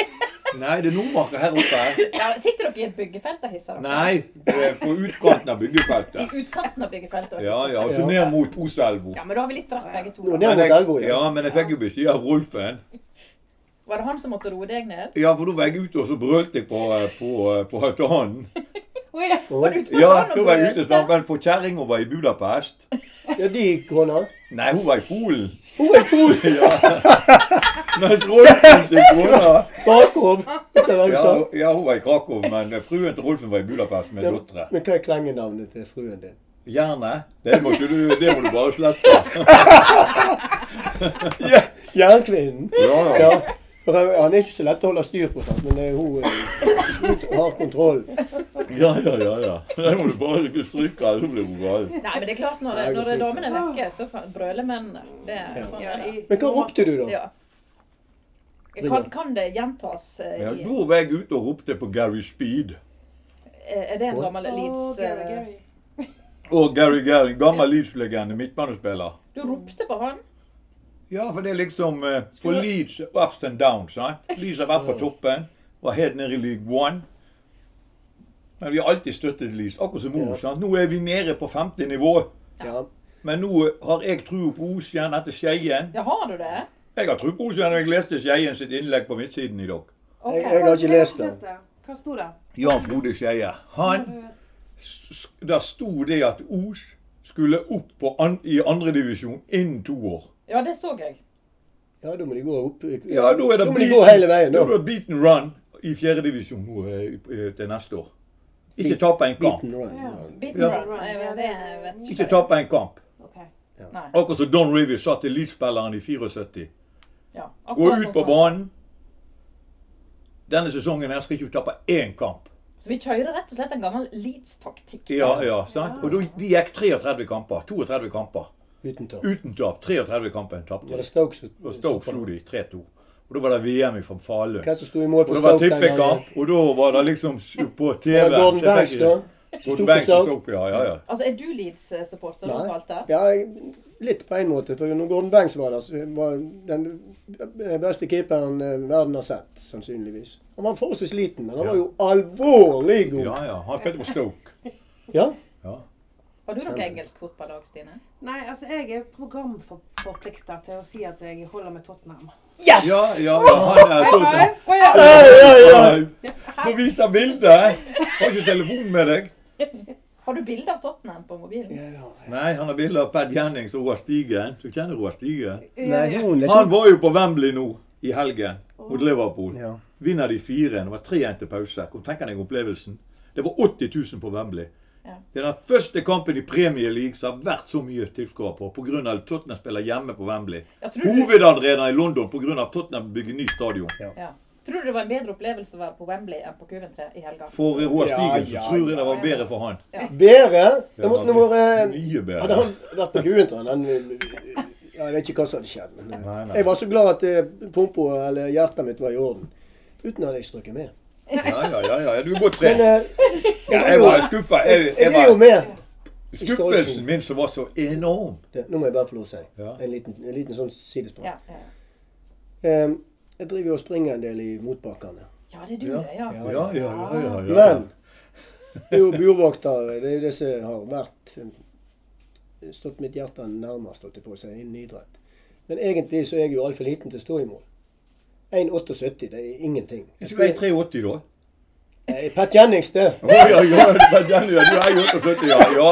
S3: Nei, det er Nordmarka her oppe.
S1: Ja, sitter dere i et byggefelt og hisser dere?
S3: Nei, det er på utkanten av
S1: I
S3: byggefeltet.
S1: utkanten av byggefeltet og
S3: Ja,
S1: hisser
S3: ja, og
S1: seg?
S3: så ned mot Oselva.
S1: Ja, men da har vi litt rett begge to.
S5: Jo,
S1: da.
S5: ned
S3: Men
S5: mot elva,
S3: jeg,
S5: ja.
S3: ja, men jeg fikk jo beskjed av Rolfen.
S1: Var det han som måtte roe deg ned?
S3: Ja, for da var jeg ute og så brølte jeg på, eh, på, eh, på altanen.
S2: Å
S1: Oi, var du ute med
S3: Ja,
S1: barn og
S3: da var jeg
S1: brølte?
S3: ute snart, men for kjerringa var i Budapest.
S5: Ja, de kona.
S3: Nei, hun var i Polen.
S5: Hun er full
S3: Men Rolfen sin kone
S5: bakom. Ikke hva du
S3: ja,
S5: sa.
S3: ja, hun var i Krakow, men eh, fruen til Rolfen var i Budapest med døtre.
S5: Men hva er klengenavnet til fruen din?
S3: Gjerne. Det må, ikke du, det må du bare slette.
S5: Jernkvinnen.
S3: Ja, ja.
S5: Ja. For han er ikke så lett å holde styr på, sant? men eh, hun, eh, hun har kontroll.
S3: ja, ja, ja, ja. Det må du bare ikke stryke, så blir hun gal.
S1: Nei, men det er klart, når,
S5: Nei, det
S1: når
S5: går fint.
S1: damene er vekke, så kan- brøler mennene. Det er sånn
S2: Ja,
S1: er det.
S2: i-
S5: Men hva ropte du, da?
S1: Ja. Kan, kan det gjentas? eh,
S3: Ja,
S1: i-
S3: da var jeg ute og ropte på Gary Speed.
S1: eh, Er er det en gammel
S2: Å,
S1: Leeds
S2: Gary,
S1: eh,
S2: Gary.
S3: Og Gary Gary, gammel Leeds-legende, midtbanespiller.
S1: Du ropte på han?
S3: Ja, for det er liksom eh, For Leeds ups and downs. sant? Leeds har vært på toppen, var helt nede i league one. Men vi har alltid støttet Leeds, akkurat som Os. sant? Nå er vi nede på femte nivå.
S5: Ja.
S3: Men nå har jeg trua på Os igjen etter Skeien.
S1: Ja, har du det?
S3: Jeg har trua på Os igjen, og jeg leste Skeien sitt innlegg på midtsiden i dag.
S1: Ok.
S5: Jeg, jeg har ikke lest den.
S2: Hva sto det?
S3: Jan Frode Skeie. Han s- s- Der sto det at Os skulle opp på an, i andredivisjon innen to år.
S1: Ja, det så jeg.
S5: Ja, da må de gå opp
S3: Ja, nå er det
S5: Da må de gå hele veien,
S3: nå er
S5: da.
S3: det beaten run i fjerdedivisjon nå eh, eh, til neste år. Ikke tape en kamp.
S5: Beaten run. ja.
S1: Beaten
S3: Ja.
S1: run. Nei, men det vet ikke.
S3: Ikke tape en kamp.
S2: Ok.
S1: Nei.
S3: Akkurat som Don Rivers sa til Leeds-spilleren i 74.
S1: Ja,
S3: Gå
S1: akkurat
S3: ut
S1: sånn
S3: på
S1: som-
S3: banen. Denne sesongen her skal ikke du tape én kamp.
S1: Så vi kjører rett og slett en gammel Leeds-taktikk.
S3: Ja, ja, sant? Og da- de gikk 33 kamper. 32 kamper.
S5: Uten tap.
S3: Uten tap. 33 kamper tapte
S5: Var
S3: de.
S5: det Stoke som
S3: Og Stoke slo de 3-2. Og da var det VM i Falun.
S5: Hvem som sto i mål
S3: Og
S5: for
S3: det var
S5: Stoke? den gangen?
S3: tippekamp, og da var det liksom s- på TV.
S5: Var det Gordon
S3: så jeg
S5: Banks,
S3: tenker-
S5: da? Som sto
S3: Gordon
S5: for
S3: Banks og
S5: Stoke?
S3: Stoke, ja. ja, ja.
S1: Altså, er du Leeds-supporter, du,
S5: Nei.
S1: Walter?
S5: Ja, jeg- litt på en måte. For når Gordon Banks var der, så var den beste keeperen eh, verden har sett, sannsynligvis. Han var forholdsvis liten, men han var jo alvorlig god.
S3: ja, ja. Han spilte på Stoke.
S5: Ja.
S3: Ja.
S1: Har du noe
S5: Stemmer.
S1: engelsk fotballag, Stine?
S2: Nei, altså jeg er programforplikta til å si at jeg holder med Tottenham.
S5: Yes!
S3: ja, ja, ja han er så
S5: Ja, ja, ja.
S3: Få vise bildet! Har ikke telefon med deg.
S1: Har du bilde av Tottenham på mobilen?
S5: Ja, ja.
S3: Nei, han har bilde av Pat Jennings og Roar Stigen. Du kjenner Roar Stigen?
S5: Nei, hun er
S3: Han var jo på Wembley nå i helgen mot Liverpool.
S5: Ja.
S3: Vinner de 4-1. Det var 3-1 til pause. Kom, tenk deg opplevelsen. Det var 80 000 på Wembley.
S1: Ja.
S3: Det er den første kampen i Premier League som har vært så mye tilskuere på pga. Tottenham spiller hjemme på Wembley.
S1: Ja, tror du,
S3: Hovedarena i London pga. Tottenham bygger ny stadion.
S1: ja. tror du det var en bedre opplevelse å være på Wembley enn på Coventry i helga?
S3: For Roar
S5: Ja,
S3: Stigen så
S5: ja,
S3: tror jeg det var
S2: ja.
S3: bedre for han.
S5: Bedre? Det
S3: Ja,
S5: måtte
S3: det
S5: nå være
S3: Mye
S5: Hadde
S3: bedre.
S5: han vært på Kuventran, han eh, ja, Jeg vet ikke hva som hadde skjedd. Men eh,
S3: Nei, nei.
S5: jeg var så glad at eh, pumpa, eller hjertet mitt, var i orden. Uten at jeg strøket med.
S3: Ja, ja, ja, ja. Du er godt
S5: Men
S3: trent.
S5: eh,
S3: Ja, jeg var skuffa. Jeg,
S5: jeg
S3: jeg
S5: er jo
S3: var
S5: med.
S3: skuffelsen min som var så enorm.
S5: Det, nå må jeg bare få lov å si
S3: Ja.
S5: en, liten, en liten sånn sidesprang.
S1: Ja, ja.
S5: Eh, jeg driver jo og springer en del i motbakkene.
S1: ja det er du, det. Ja.
S3: Ja, ja, ja. ja, ja,
S5: Men det er jo burvoktere. Det er jo det som har vært eh, stått mitt hjerte nærmest, holdt jeg på å si, innen idrett. Men egentlig så er jeg jo altfor liten til å stå i mål. 1,78, det er ingenting.
S3: Ikke du er 83 da?
S5: Eh, Pat Jennings, det.
S3: Å ja, ja, ja, ja, ja, du er jo 78, ja.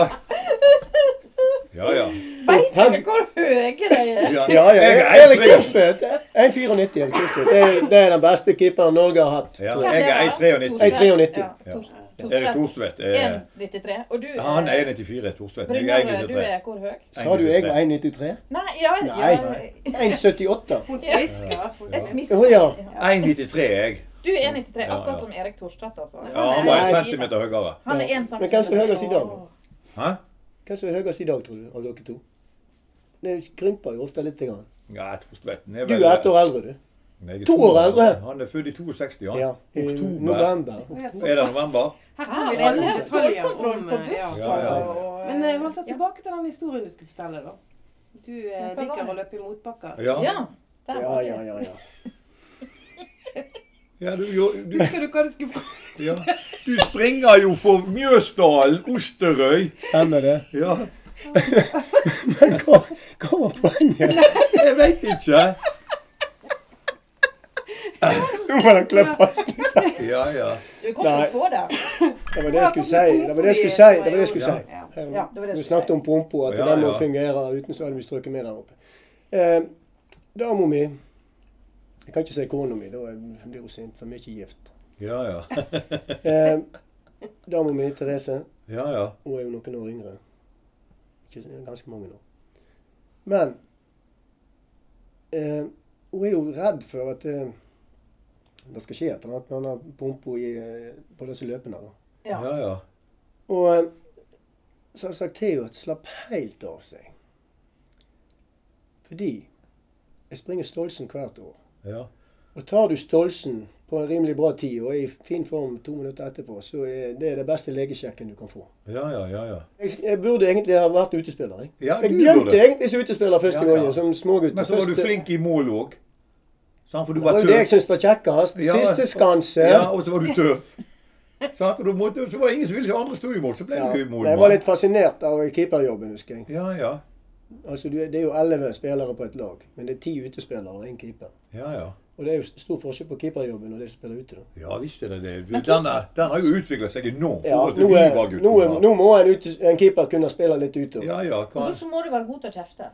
S3: Ja, ja. ja.
S1: Veit dere hvor høye de er?
S3: ja.
S5: Ja, ja.
S3: Jeg er
S5: Erik
S3: 1,93.
S5: Kirstvedt. 1,94 er Kirstvedt. Det, er- det er den beste keeperen Norge har hatt.
S3: Ja,
S5: tror jeg.
S3: jeg er 1,93.
S1: Jeg er
S5: 1,93.
S1: Ja, to- to-
S3: Erik Thorstvedt er
S1: 1,93. Og du
S3: ja, Han er 1,94, Thorstvedt. Jeg er
S1: Brynjar, du
S3: 1,93.
S1: er hvor høy?
S5: Sa du jeg var 1,93?
S1: Nei, ja,
S5: Nei.
S1: ja.
S5: 1,78.
S2: Hun smisker. hun
S1: Jeg
S2: smisker.
S5: Å
S1: smisker.
S5: ja.
S3: 1,93 er jeg.
S1: Du er 1,93,
S3: Ja, ja.
S1: akkurat som Erik Thorstvedt, altså.
S3: Ja, han var en
S5: Nei.
S3: centimeter høyere.
S1: Han er 1 cm.
S5: Men hvem som er høyest i dag?
S3: Hæ?
S5: Hvem som er høyest i dag, tror du, av dere to? Det krymper jo ofte litt. Grann.
S3: Ja, Thorstvedten er
S5: Du er ett år eldre, du.
S3: Jeg er
S5: to år eldre.
S3: Han er født i 62, han.
S5: Ja. I
S3: Oktober.
S5: november.
S3: Er det november?
S2: Her
S1: Ja,
S2: kan vi
S1: men
S2: alle
S1: her er
S2: detaljer
S1: stålkontroll
S2: om
S1: på
S2: eh, ja.
S1: bussen.
S3: Ja, ja.
S1: og-
S2: Men eh, Walter, tilbake til den historien du skulle fortelle, da. Du eh,
S1: hva var
S2: liker
S1: det?
S2: å løpe i motbakker.
S3: Ja.
S1: Ja. der
S5: Ja,
S1: var det.
S5: ja, ja. ja.
S3: ja du, jo, du,
S2: Husker du hva du skulle fortelle?
S3: ja. du springer jo for Mjøsdalen, Osterøy.
S5: Stemmer det.
S3: Ja,
S5: Men hva, hva var poenget?
S3: jeg veit ikke.
S5: Nå må den klippes.
S3: Ja, ja.
S6: Du kom jo
S5: Nei.
S6: på det.
S5: Det var det jeg skulle si. Det var det jeg skulle si. Det var det jeg skulle si.
S6: Ja, ja, det var
S5: Her,
S6: det jeg
S5: vi
S6: skulle
S5: snakket
S6: si.
S5: om pumpa, at
S3: Ja,
S5: den må
S3: ja.
S5: fungere. Uten så hadde vi strøket med der oppe. Eh, Dama mi Jeg kan ikke si kona mi, da blir hun sint. For mye gift.
S3: Ja, ja.
S5: Eh, Dama mi, Therese,
S3: Ja, ja.
S5: hun er jo noen år yngre. Ikke, så- ganske mange år. Men eh, hun er jo redd for at eh, det skal skje et eller annet med denne pumpa i, eh, på disse løpene. da.
S6: Ja.
S3: Ja, ja.
S5: Og eh, så har jeg sagt til henne at slapp helt av seg. Fordi jeg springer Stolsen hvert år.
S3: Ja,
S5: Og tar du Stolsen på en rimelig bra tid og er i fin form to minutter etterpå, så er det den beste legesjekken du kan få.
S3: ja, ja. ja, ja.
S5: Jeg, jeg burde egentlig ha vært utespiller. Jeg,
S3: Ja,
S5: jeg
S3: du
S5: glemte
S3: burde.
S5: egentlig som utespiller første
S3: Ja, ja.
S5: gangen, som smågutt.
S3: Men så var du
S5: Første-
S3: flink i mål òg. For du
S5: Det
S3: var
S5: var jo det jeg
S3: tøff.
S5: syntes var kjekkest.
S3: Ja.
S5: Siste skanse.
S3: Ja, og så var du tøff. Sant? Og da måtte, så var det ingen som ville så andre sto i mål, så ble
S5: Ja.
S3: du i mål.
S5: Jeg var litt fascinert av keeperjobben, husker jeg.
S3: Ja, ja.
S5: Altså, du, det er jo elleve spillere på et lag, men det er ti utespillere og én keeper.
S3: Ja, ja.
S5: Og det er jo stor forskjell på keeperjobben og det som spiller ute. da.
S3: Ja visst er det det. Den, er, den har jo utvikla seg enormt. i
S5: Ja,
S3: forhold til
S5: nå,
S3: vi
S5: er,
S3: var
S5: nå, er,
S3: gutter.
S5: nå må en, ute- en keeper kunne spille litt ute.
S3: Ja, ja.
S6: Og
S3: Kan,
S6: så må du være god til å kjefte.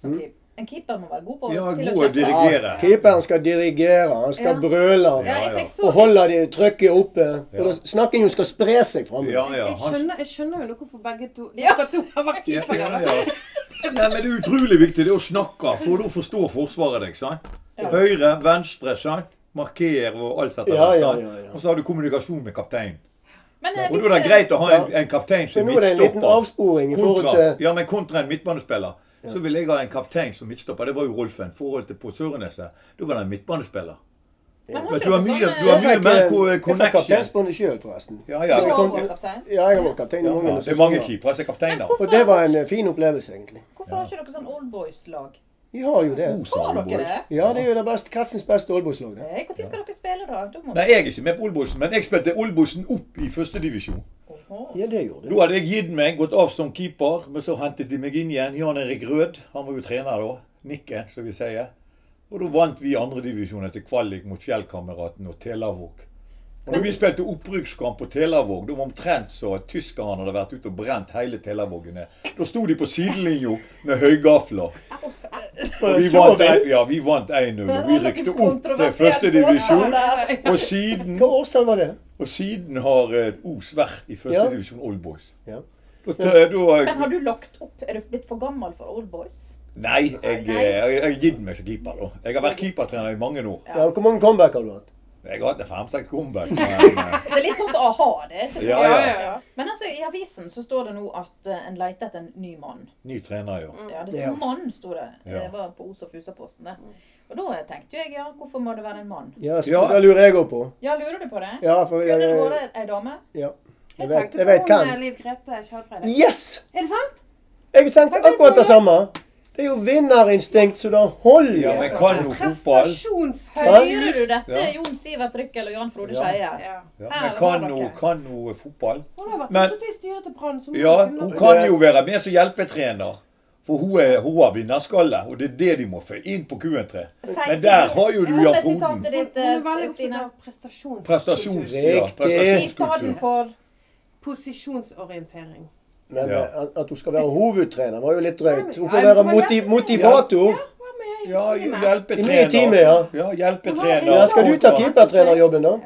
S6: som
S3: Mm.
S6: keep- En keeper må være god på
S3: Ja,
S6: til å
S3: god å
S6: kjefte.
S3: dirigere.
S5: Ja, keeperen skal dirigere, han skal
S6: Ja.
S5: brøle
S6: Ja, jeg fikk så
S5: og holde det trykket oppe.
S3: Ja.
S5: Og da snakkingen skal spre seg
S3: ja,
S5: framover.
S3: ja.
S2: Jeg
S3: Han,
S2: skjønner, jeg skjønner jo nå hvorfor begge to Dere to har vært
S3: ja,
S2: keepere.
S3: ja, ja. Nei, men det er utrolig viktig det å snakke, for da forstår Forsvaret deg. sant? Høyre, venstre, sant? Markere og alt dette.
S5: Ja,
S3: der,
S5: ja,
S3: sant?
S5: ja, ja.
S3: Og så har du kommunikasjon med kapteinen.
S6: Men eh,
S3: Og da er det
S6: hvis, eh,
S3: greit å ha en, en kaptein
S5: Så
S3: som
S5: nå er det en liten
S3: midtstopper.
S5: avsporing i forhold
S3: Kontra,
S5: til
S3: ja, men kontra en midtbanespiller. Så ville jeg ha en kaptein som midtstopper. Det var jo Rolfen. Forholdet på Søreneset. Da var det en midtbanespiller.
S6: men har
S3: Men
S6: ikke
S3: du har
S6: dere sånne-
S3: mye- du har mye-
S5: Jeg fikk, eh,
S3: mer ko-
S5: jeg fikk
S3: connection.
S5: kapteinsbåndet sjøl, forresten.
S3: Ja, ja.
S6: Du
S5: Vi
S6: har
S5: kom-
S6: også vært kaptein.
S5: Ja, jeg har vært kaptein i
S3: Ja,
S5: mange
S3: det er
S5: sesonger.
S3: mange keepere som er kapteiner.
S6: Men hvorfor-
S5: Og det var en eh, fin opplevelse, egentlig.
S6: Hvorfor har ikke dere sånn oldboys-lag?
S5: Vi har jo det.
S3: Osa,
S6: Har dere
S3: Oldboys.
S6: det? Eh,
S5: Ja, det er jo det beste, kretsens beste oldboyslag, det.
S6: Når skal dere spille, da? Da må
S3: Nei, jeg er ikke med på Olbosen, men jeg spilte Olbosen opp i førstedivisjon.
S6: Oho.
S5: Ja, det gjorde det.
S3: Da hadde jeg gitt meg, gått av som keeper, men så hentet de meg inn igjen. Jan Erik Rød, han var jo trener da. Nikken, som vi sier. Og da vant vi andredivisjon etter kvalik mot Fjellkameraten og Telavåg. Og da vi spilte opprykkskamp på Telavåg, det var omtrent så at tyskerne hadde vært ute og brent hele Telavåg ned. Da sto de på sidelinja med høygafler. Og vi vant, en- ja, vi vant 1-0. og Vi rykte opp til førstedivisjon. Og siden
S5: Hva årstall var det?
S3: og siden har eh, Os vært i
S5: Ja.
S3: førstedivisjon Old Boys.
S5: Ja.
S3: Da, da,
S6: Men har du lagt opp? Er du blitt for gammel for oldboys?
S3: Nei, jeg, eh, jeg, jeg har gitt meg som keeper. da. Jeg har vært keepertrener i mange år.
S5: ja. Hvor mange comeback har du hatt?
S3: Jeg har hatt en fem-seks comeback. Men, eh,
S6: Det er litt sånn som a-ha, det. er ikke sant?
S3: Ja, ja.
S6: Men altså, i avisen så står det nå at eh, en leter etter en ny mann.
S3: ny trener, jo.
S6: Ja, det sto
S5: Ja.
S6: mann, sto det.
S3: Ja.
S6: Det var på Os og Fusa-posten,
S2: Mm.
S6: det. Og da tenkte jeg, ja, hvorfor må det være en mann?
S5: Ja, sp-
S3: Ja.
S5: Det lurer jeg òg på.
S6: Ja, lurer du på det?
S5: Ja, for jeg,
S6: Kunne det
S3: eh,
S5: jeg,
S6: vært ei dame?
S5: ja. jeg
S2: Jeg
S5: vet,
S2: tenkte
S5: jeg vet
S2: på eh, hun
S5: hvem.
S2: eh, Liv Grete Skjellbreide.
S5: Yes!
S2: Er det sant?
S5: Jeg tenkte akkurat det samme. Det er jo vinnerinstinkt, så da holder
S3: Ja,
S5: jeg.
S3: men kan jo fotball.
S2: Prestasjonskultur!
S6: Hører du dette,
S3: Ja.
S6: Jon Sivert Rykkel og Jan Frode
S3: Ja.
S6: Skeie?
S2: Ja.
S3: Ja, men kan jo, kan jo fotball.
S2: Hun har vært
S3: Men-
S2: også til styret til Brann. så hun
S3: Ja,
S2: kunne-
S3: hun kan jo være med som hjelpetrener. For hun, er, hun har vinnerskalle, og det er det de må få inn på Q13. Men der har jo du Jan Foden.
S6: Sitatet ditt,
S2: Hun er veldig
S6: eh,
S2: opptatt
S6: Stine.
S2: av prestasjons...
S3: Prestasjons, ja,
S5: Riktig.
S6: I stedet
S3: prestasjonskultur.
S6: for
S2: Posisjonsorientering.
S5: Men
S3: Ja.
S5: eh, at- at hun skal være hovedtrener, var jo litt drøyt. Hun
S2: Ja,
S5: får være
S2: men-
S5: moti motivator.
S2: Hva med i
S3: Ja,
S2: teamet?
S5: I nye
S3: hjelpetrener.
S5: timer, ja.
S3: Ja, hjelpetrener.
S5: Ja, skal du ta
S3: Kontra-
S5: keepertrenerjobben, da?
S2: Ja,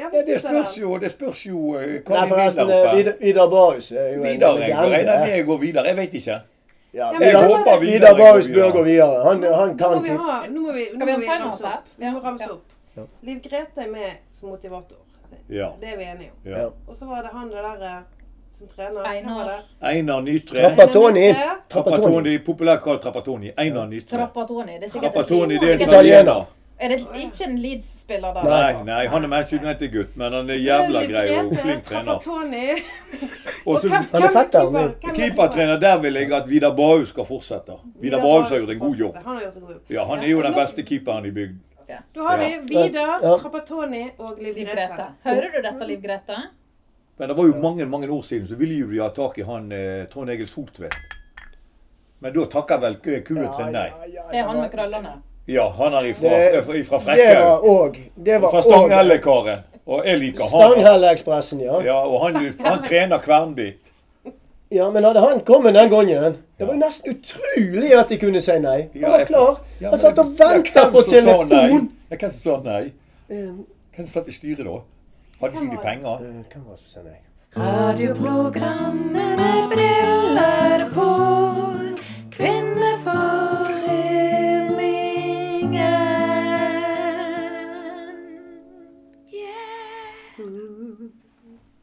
S3: Ja,
S2: hvis
S3: det
S2: du tar
S3: spørs jo, det spørs jo eh, hva
S5: Nei,
S3: vi
S5: forresten.
S3: vinner
S5: eh,
S3: oppe.
S5: Vidar- Vidar Barhus er eh. jo en
S3: Vidar, jeg går- regner med
S5: legende.
S3: jeg går videre. Jeg vet ikke.
S5: Ja,
S2: Jeg
S5: Vidar-
S3: håper Vidar
S5: Vidar
S3: går
S5: Barhus bør
S3: videre.
S5: gå videre. Han, han
S2: Nå må
S5: kan
S2: vi
S5: keep-
S2: ha nå må vi, nå
S6: Skal vi ha
S2: må
S6: en timeout
S2: ramse opp.
S6: her?
S2: Vi må ramse
S6: Ja.
S2: opp. Liv Grete er med som motivator.
S3: Ja.
S2: Det er vi enige om.
S3: ja.
S2: Og så var det han der eh, som trener.
S6: Einar.
S2: Hva var det?
S3: Einar Nytre.
S5: Trappatoni. Trappatoni.
S3: Trappatoni, populært kalt Trappatoni. Einar Nytre.
S6: Trappatoni. Det er sikkert et
S3: Trappatoni, det er en
S6: sikkert-
S3: italiener.
S6: Er det ikke en Leeds-spiller der?
S3: Nei,
S6: altså?
S3: nei, han er Manchester United-gutt, men han er jævla
S2: Liv
S3: grei og
S2: Grete,
S3: flink trener.
S2: Trapattoni.
S3: Og
S2: Og
S3: så
S2: hvem-
S5: er
S2: hvem
S5: fetter,
S2: keeper?
S5: men-
S2: Hvem er
S3: keepertrener, der vil jeg at Vidar Bahus skal fortsette. Vidar Bahus har gjort en god jobb.
S2: Han har gjort en god jobb.
S3: Ja, han er jo den beste keeperen i bygden.
S2: Da har vi
S3: Ja.
S2: Vidar,
S5: Ja.
S2: Trapattoni og Liv
S6: Liv
S2: Grete.
S6: Grete. Hører du dette, Liv Grete?
S3: Men det var jo mange mange år siden, så ville jo de ha tak i han eh, Trond Egil Soltvedt. Men da takker vel Q-en til nei.
S5: Ja, ja, ja,
S6: Det er han
S5: var-
S6: med krøllene.
S3: Ja, han er ifra, eh,
S5: Det-
S3: ifra
S5: Det var
S3: Frekkhaug.
S5: òg. Det var
S3: Fra
S5: òg
S3: Stanghelle-karen. Og jeg liker han.
S5: Stanghelle-ekspressen, ja.
S3: Ja, og han, han trener Kvernbit.
S5: Ja, men hadde han kommet den gangen Det var jo nesten utrolig at de kunne si nei.
S3: Ja,
S5: Han var
S3: jeg-
S5: klar.
S3: Ja,
S5: Han
S3: men-
S5: satt og
S3: Ja,
S5: ventet
S3: hvem
S5: på
S3: som sa nei?
S5: telefon.
S3: Ja, Hvem som sa nei?
S5: Eh,
S3: Hvem som satt i styret da? Hadde ikke de penger?
S5: eh, Hvem var det som sa nei?
S1: Radioprogrammet med briller på. Kvinneforeningen.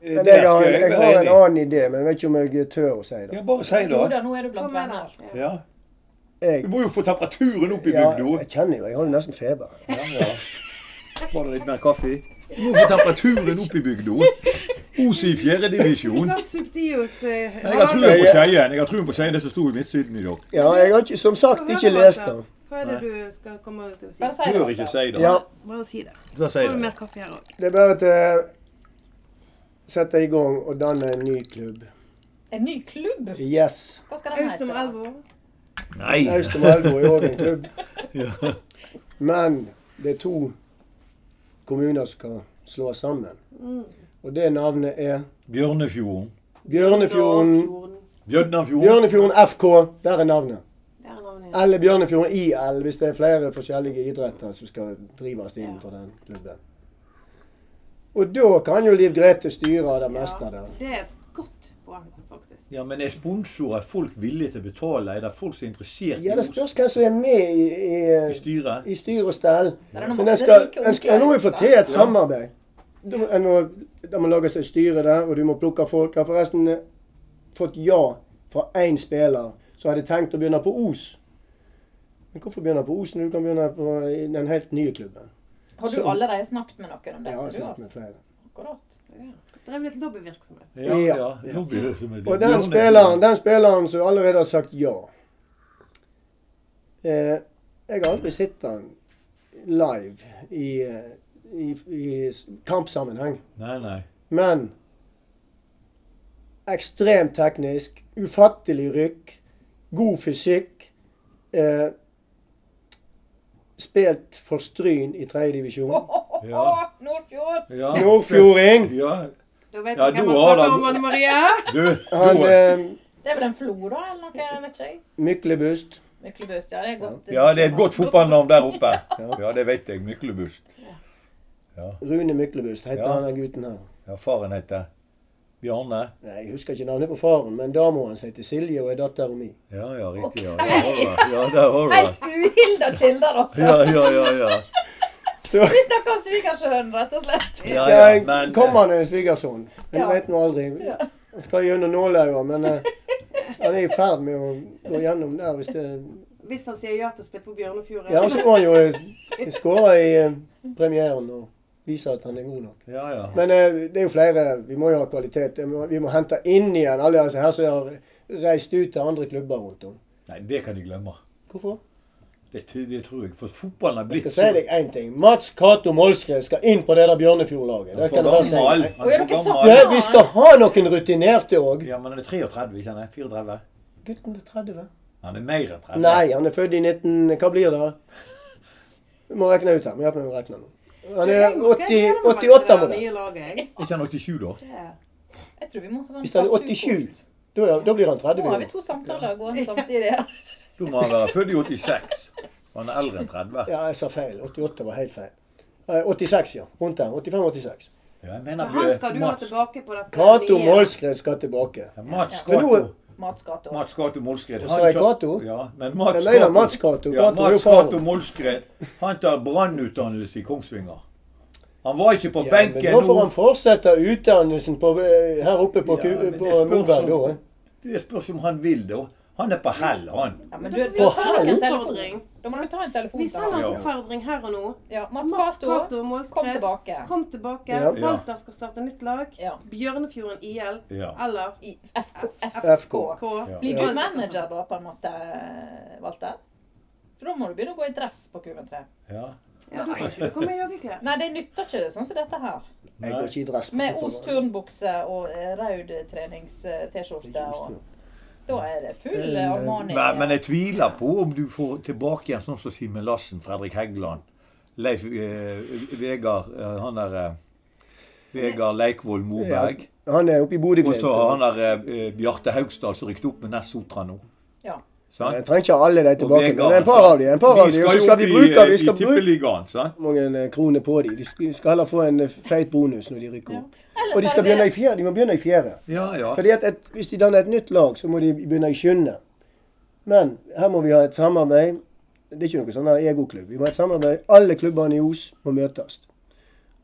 S3: Eh,
S5: Men
S3: der
S5: jeg,
S3: skal
S5: har,
S3: jeg
S5: jeg
S3: være
S5: har en
S3: enig.
S5: annen idé, men jeg vet ikke om jeg tør å si det.
S3: Ja, bare si
S1: Jo
S3: det.
S1: da, nå er du blant
S2: Kom igjen
S1: venner.
S2: her.
S3: Ja. Du
S5: Jeg,
S3: må jo få temperaturen opp i
S5: ja,
S3: bygda.
S5: jeg kjenner jo, jeg har jo nesten feber.
S3: Ja, ja. Var det litt mer kaffe? Du må få temperaturen opp i bygda. Os i fjerde divisjon.
S2: Snart Subtios eh,
S3: Jeg har trua på Skeien. Jeg har trua på Skeien, det som sto i Midtsyden i dag.
S5: Ja, jeg har ikke, som sagt ikke lest den.
S2: Hva er det du skal komme til å si?
S1: Bare si
S3: Tør
S1: det.
S3: ikke si det.
S5: Ja,
S2: Bare si det.
S3: Da sier
S2: Får du
S3: jeg
S2: mer
S3: det.
S2: kaffe her òg?
S5: det er bare at eh, Sette i gang og danne en ny klubb.
S1: En ny klubb?
S5: Yes.
S1: Hva skal den
S2: Aust
S1: hete?
S2: nummer
S1: da?
S2: 11 år.
S3: Nei.
S5: Aust og Melbo er òg en klubb. Men det er to kommuner som skal slå sammen. Og det navnet er
S3: Bjørnefjorden.
S5: Bjørnefjorden,
S2: Fjorden.
S3: Bjørnafjorden.
S5: Bjørnefjorden FK. Der er navnet.
S2: Det er navnet.
S5: Eller Bjørnefjorden IL, hvis det er flere forskjellige idretter som skal drives innenfor den klubben. Og da kan jo Liv Grete styre det meste der.
S2: Det er et godt poeng, faktisk.
S7: Ja, men er sponsorer folk villige til å betale? Er det folk som er interessert i
S5: Ja, Det
S7: ost
S5: spørs hvem som er med i,
S7: i
S5: i,
S7: styret?
S5: i styr og stell.
S1: Det er noen
S5: Men en
S1: masse
S5: skal,
S1: rike
S5: en skal, en må jo
S1: onkler i
S5: få
S1: Aust, da.
S5: til et samarbeid. Du, må- en må, det må lages et styre der, og du må plukke folk. Jeg har forresten eh, fått ja fra én spiller som hadde tenkt å begynne på Os. Men hvorfor begynne på Os når du kan begynne på i den helt nye klubben?
S1: Har du
S5: Så-
S1: allerede snakket med noen om dette?
S5: Jeg har
S1: du,
S5: snakket med
S1: altså?
S5: flere.
S1: Akkurat.
S2: Drev litt lobbyvirksomhet.
S3: Ja,
S5: Ja.
S3: ja. Nå blir det som et
S5: Og den
S3: bjørnefjord.
S5: spilleren, den spilleren som allerede har sagt ja eh, Jeg har aldri sett han live i, eh, i, i s- kampsammenheng.
S3: Nei, nei.
S5: Men ekstremt teknisk, ufattelig rykk, god fysikk. Eh, spilt for Stryn i tredjedivisjon.
S3: Ja.
S1: Å, Nordfjord!
S3: Ja.
S5: Nordfjording!
S3: Ja.
S2: Da vet
S3: Ja,
S2: du hvem
S3: du
S2: man
S3: har
S2: snakker
S3: da-
S2: om, Anne Marie.
S3: Du,
S5: Han
S3: nå-
S5: eh,
S1: Det er vel en flo, da, eller noe? Jeg vet ikke jeg.
S5: Myklebust.
S1: Myklebust, ja. Det er godt.
S3: Ja, det er et godt fotballnavn der oppe. Ja, det vet jeg. Myklebust.
S5: Rune Myklebust heter
S3: Ja.
S5: han der gutten her.
S3: Ja, faren heter Bjarne.
S5: Nei, Jeg husker ikke navnet på faren, men dama hans heter Silje og er datter mi.
S3: Ja, ja, riktig. Ja, der har du det. Ja, der har du det.
S1: Helt uhilda kilder, altså.
S3: Ja, ja, ja. ja.
S5: Så
S1: Vi snakker om svigersønnen, rett og slett.
S3: Ja,
S5: ja,
S3: ja, men,
S5: kommer han en svigersønn. Du
S1: Ja.
S5: vet nå aldri. Han skal gjennom nålauget, men eh, han er i ferd med å gå gjennom der hvis det
S2: Hvis han sier ja til å spille på Bjørnefjorden.
S5: Ja, altså, så må han jo skåre i eh, premieren og vise at han er god nok.
S3: ja, ja.
S5: Men eh, det er jo flere. Vi må jo ha kvalitet. Vi må, vi må hente inn igjen alle disse her som har reist ut til andre klubber rundt om.
S3: Nei, det kan de glemme.
S5: Hvorfor?
S3: Det, det tror jeg. For fotballen har
S5: Jeg
S3: blitt
S5: skal si deg én ting. Mats Cato Molskred skal inn på det der Bjørnefjord-laget. Det
S3: for
S5: kan jeg bare si.
S3: gammel.
S1: Og er dere sammen?
S5: Ja, vi skal ha noen rutinerte òg.
S3: Ja, men han er 33, ikke sant? 34?
S5: Gutten er 30.
S3: Han er mer enn 30.
S5: Nei, han er født i 19... Hva blir det? Vi må regne ut her. Vi hjelper meg å regne nå. Han er 80, 88-modell.
S3: Er ikke han 87, da?
S1: Jeg tror vi må ha sånn
S5: Hvis han er
S1: partout
S5: 87,
S1: kort.
S5: da, er- da blir han
S1: Nå
S5: 30
S1: har vi
S5: år.
S1: to samtaler gående samtidig her.
S3: Da må han være født i 86. Han er eldre enn 30.
S5: Ja, jeg sa feil. 88 var helt feil. Eh, 86, ja. Rundt der. 85-86.
S3: Ja, jeg mener
S2: Han skal
S3: eh,
S2: du ha
S3: Mats,
S2: tilbake på dette.
S5: Cato
S2: nye.
S5: Målskred skal tilbake.
S3: ja, Mats
S5: For nå
S3: Cato.
S5: er-
S1: Matsgata.
S3: Mats Cato Molskred.
S5: Sa jeg Cato?
S3: Ja, men Mats
S5: Jeg mener
S3: Cato-
S5: Mats Cato.
S3: Ja,
S5: Cato er jo
S3: Mats
S5: faren.
S3: Cato Molskred. Han tar brannutdannelse i Kongsvinger. Han var ikke på
S5: Ja, men
S3: benken
S5: nå får han
S3: nå.
S5: fortsette utdannelsen på, eh, her oppe på,
S3: Ja, men
S5: Ku-
S3: det
S5: på
S3: spørs
S5: Moberg da.
S3: om-
S5: eh.
S3: Det spørs om han vil, da. Han er på hell, han.
S1: Ja, men du,
S2: Men da får vi
S1: da
S2: ta
S1: tar dere
S2: en
S1: en telefon.
S2: utfordring.
S1: Da må dere ta en telefon.
S2: Vi sender
S3: Ja.
S2: en oppfordring her og nå.
S1: Ja, Mats
S2: Mats Cato
S1: Cato, kom
S2: Målskred.
S1: tilbake.
S2: Kom tilbake.
S5: Ja.
S2: Walter skal starte nytt lag.
S1: Ja.
S2: Bjørnefjorden IL.
S3: Ja.
S2: Eller
S1: I FK.
S5: FK.
S2: K.
S1: Blir
S2: Ja.
S1: du manager da, på en måte, Walter? For da må du begynne å gå i dress på QV3.
S3: Ja.
S2: Ja, du kan ikke komme i joggeklær.
S1: Nei, det nytter ikke sånn som dette her.
S5: Jeg går ikke i dress. på
S1: Med
S5: fotball.
S1: Os turnbukse eh, og eh, rød trenings-T-skjorte og Da er det full
S5: eh,
S1: Armani.
S3: Men, men jeg tviler på om du får tilbake igjen sånn som Simen Lassen, Fredrik Heggeland, Leif eh, Vegard eh, Han der eh, Vegard Leikvoll Moberg.
S5: Han er oppe i Bodø.
S3: Og
S5: Glimt.
S3: så har han der eh, Bjarte Haugstad som rykket opp med Ness Sotra nå.
S1: Ja.
S3: Sant?
S5: Jeg trenger ikke alle de
S3: Og
S5: tilbake,
S3: Vegard,
S5: men en par
S3: sant?
S5: av de, en par av de, og så skal vi
S3: jo opp i,
S5: bruke,
S3: eh,
S5: vi skal
S3: i
S5: bruke
S3: tippeligaen, sant?
S5: mange eh, kroner på de. De skal- skal heller få en eh, feit bonus når de rykker opp.
S1: Ellers
S5: Og de
S1: er
S5: skal
S1: det-
S5: begynne i fjerde. De må begynne i fjerde.
S3: Ja, ja.
S5: Fordi at et, hvis de danner et nytt lag, så må de begynne i skyende. Men her må vi ha et samarbeid. Det er ikke noe sånn her egoklubb. Vi må ha et samarbeid. Alle klubbene i Os må møtes.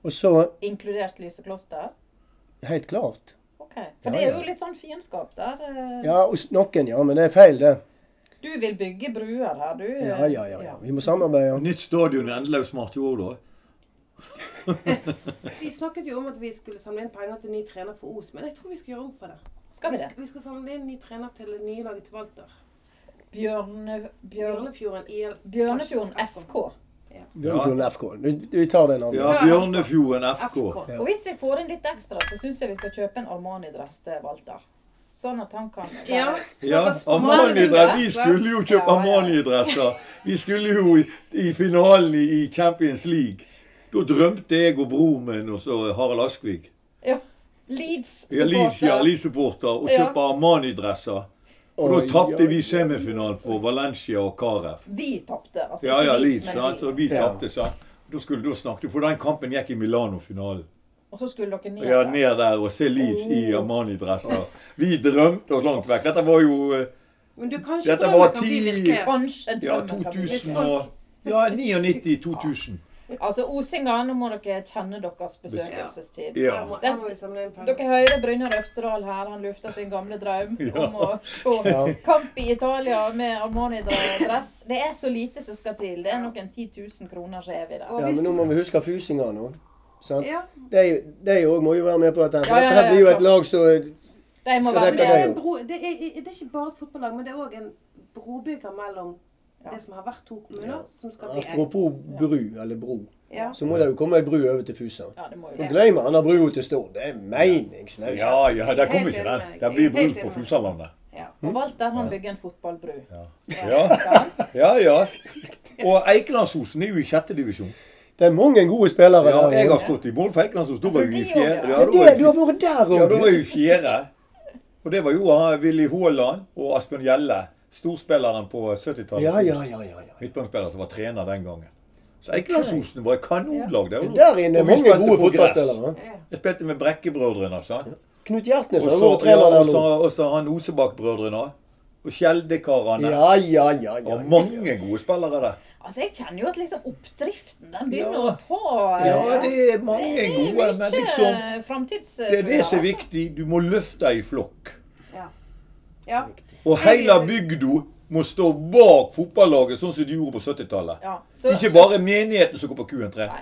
S5: Og så,
S1: Inkludert Lyse Kloster?
S5: helt klart
S1: Ok. For
S5: Ja,
S1: det er
S5: ja.
S1: jo litt sånn fiendskap der. det-
S5: Ja, hos noen, ja. Men det er feil, det.
S1: Du vil bygge bruer her, du. eh.
S5: Ja, ja, ja. ja. Vi må samarbeide.
S3: Nytt stadion i Endelaug snart i år, da.
S2: Vi snakket jo om at vi skulle samle inn penger til ny trener for Os, men jeg tror vi skal gjøre om for det.
S1: Skal vi
S2: Vi
S1: det?
S2: skal, vi skal samle inn ny trener til det nye laget til Walter.
S1: Bjørne, Bjørn,
S2: Bjørnefjorden IL.
S1: Bjørnefjorden FK.
S5: Bjørnefjorden FK. Du, du tar den andre.
S3: Ja, Bjørnefjorden FK.
S2: FK.
S1: Og hvis vi får inn litt ekstra, så syns jeg vi skal kjøpe en Armani-dress til Walter. Sånn at han kan være
S2: Ja.
S3: Ja,
S2: såpass på
S3: Armani-dress.
S2: mandag,
S3: Vi
S2: va?
S3: skulle jo kjøpe
S1: Ja, ja.
S3: Armani-dresser. Vi skulle jo i, i finalen i i Champions League. Da drømte jeg og broren min og så Harald Askvig.
S1: Ja. Leeds.
S3: Ja, Leeds- ja, Leeds-supporter. Og
S1: Ja.
S3: kjøpe Armani-dresser. Og da tapte vi semifinalen for Valencia og Carew.
S1: Vi tapte, altså.
S3: Ja,
S1: ikke
S3: ja,
S1: Leeds,
S3: Leeds.
S1: men
S3: Sant? Og
S1: vi.
S3: vi
S5: Ja.
S3: tapte, sant. Da skulle da snakke, For den kampen gikk i Milano-finalen.
S1: Og så skulle dere ned.
S3: Ja,
S1: der.
S3: ned der og se Leeds i Armani-dresser. Vi drømte oss langt vekk. Dette var jo eh,
S2: Men du, kanskje
S3: Dette
S2: drømmen
S3: var
S2: kan bli
S3: ti-
S2: virkelighet.
S1: Kanskje
S3: Ja,
S1: drømmen kan bli-
S3: 2000 og Ja, 99-2000.
S1: Altså, Osinga, nå må dere kjenne deres besøkelsestid.
S2: Her
S3: Ja.
S2: må, her må vi samle inn penger.
S1: Dere hører Brynjar Øvsterdal her. Han lufter sin gamle drøm om å se kamp i Italia med Armani-dress. Det er så lite som skal til. Det er noen 10 000 kroner som er vi der.
S2: Og
S5: Ja,
S2: hvis
S5: men nå må vi huske fusinga nå. Sant?
S2: Ja.
S5: De òg må jo være med på dette. her, For
S1: Ja, ja,
S5: dette her
S1: ja,
S5: blir jo et
S1: klart.
S5: lag som
S1: De må
S5: Skal
S2: Men
S1: være
S5: dere
S2: det,
S5: det
S2: er
S1: med.
S5: jo.
S2: en bro, det, er, det er ikke bare et fotballag, men det er òg en brobygger mellom
S1: Ja.
S2: det som har vært to kommuner, som skal bli én.
S5: Apropos bru, eller bro,
S2: Ja.
S5: så må det jo komme ei bru over til Fusa.
S1: Ja, det må jo
S5: Og
S1: det.
S5: glemmer han har brua til Stord. Det er meningsløst.
S3: Ja, ja, der kom
S2: Helt enig
S3: ikke den.
S2: med deg.
S3: Der blir
S2: Helt
S3: brudd på
S2: enig med deg.
S3: Fusalandet.
S1: Og Walter han bygger en fotballbru.
S3: Ja, ja. ja. Og Eikelandsosen er jo i sjette divisjon.
S5: Det er mange gode spillere
S3: Ja,
S5: der.
S3: jeg har stått i mål for Eikelandsosen. Da var vi i fjerde.
S5: Ja,
S3: Ja, da
S5: det,
S3: var
S5: du
S3: vi
S5: har vært der
S3: ja, da
S5: òg.
S3: var vi i fjerde. Og det var jo han Willy Haaland og Asbjørn Gjelle. Storspilleren på 70-tallet.
S5: Ja, ja, ja, ja, ja.
S3: Midtbanespiller som var trener den gangen. Så Eikelandsosen var et kanonlag. Der,
S5: Der inne er
S3: Og vi
S5: mange
S3: spilte
S5: gode
S3: på gress.
S5: fotballspillere.
S3: Jeg spilte med Brekkebrødrene. sant?
S5: Knut Gjertnes
S3: Og
S5: har
S3: så
S5: vært
S3: ja,
S5: trener
S3: og
S5: der nå.
S3: så- og så han Osebakk-brødrene. Og Skjeldekarene.
S5: Ja, ja, ja. ja.
S3: Og mange gode spillere der.
S1: Altså, jeg kjenner jo at liksom oppdriften, den begynner
S3: Ja.
S1: å ta
S3: Ja, det er mange
S1: Det er
S3: gode, men
S1: mye eh,
S3: liksom
S1: framtids...
S3: Det er det som er viktig. Du må løfte i flokk.
S2: Ja.
S3: Og hele bygda må stå bak fotballaget, sånn som de gjorde på 70-tallet.
S1: Ja.
S3: Det
S1: Så,
S3: er Ikke bare menigheten som går på Q13.
S1: Nei.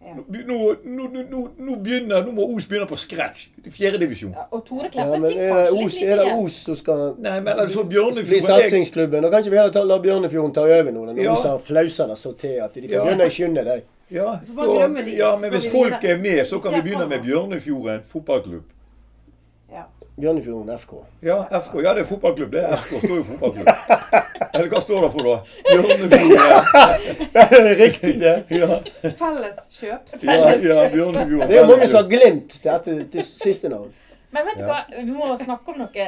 S2: Ja.
S3: Nå, nå, nå, nå, nå, begynner, nå må Os begynne på scratch. Fjerdedivisjon.
S1: Ja, og Tore
S5: Ja,
S1: Kleppe
S5: men
S1: fikk
S5: er det
S1: kanskje
S5: Os,
S1: litt
S5: er det
S1: lite igjen.
S5: Os som skal
S3: Nei, men altså
S5: bli
S3: Bjørnefjord jeg,
S5: satsingsklubben? Da kan ikke vi heller ta, la Bjørnefjorden ta over nå, når
S3: Ja.
S5: Os har flausa det så til at de
S3: Ja.
S5: får begynne i skynde deg.
S3: ja,
S2: får bare glemme de,
S3: ja,
S2: så
S3: men
S2: går
S3: hvis
S2: vi
S3: folk
S2: videre.
S3: er med, så
S2: Vi
S3: kan
S2: ser
S3: vi begynne med
S2: fremover.
S3: Bjørnefjorden fotballklubb.
S5: Bjørnefjorden FK.
S3: Ja, FK. Ja, det er fotballklubb. Det er FK. Står jo fotballklubb. Eller hva står det for, da? Bjørnefjorden.
S5: Riktig det.
S3: Ja,
S2: Felles kjøp.
S3: ja, ja, Bjørnefjorden.
S5: Det er mange som har glemt dette til siste navn.
S1: Men vet du
S3: Ja.
S1: hva, vi må snakke om noe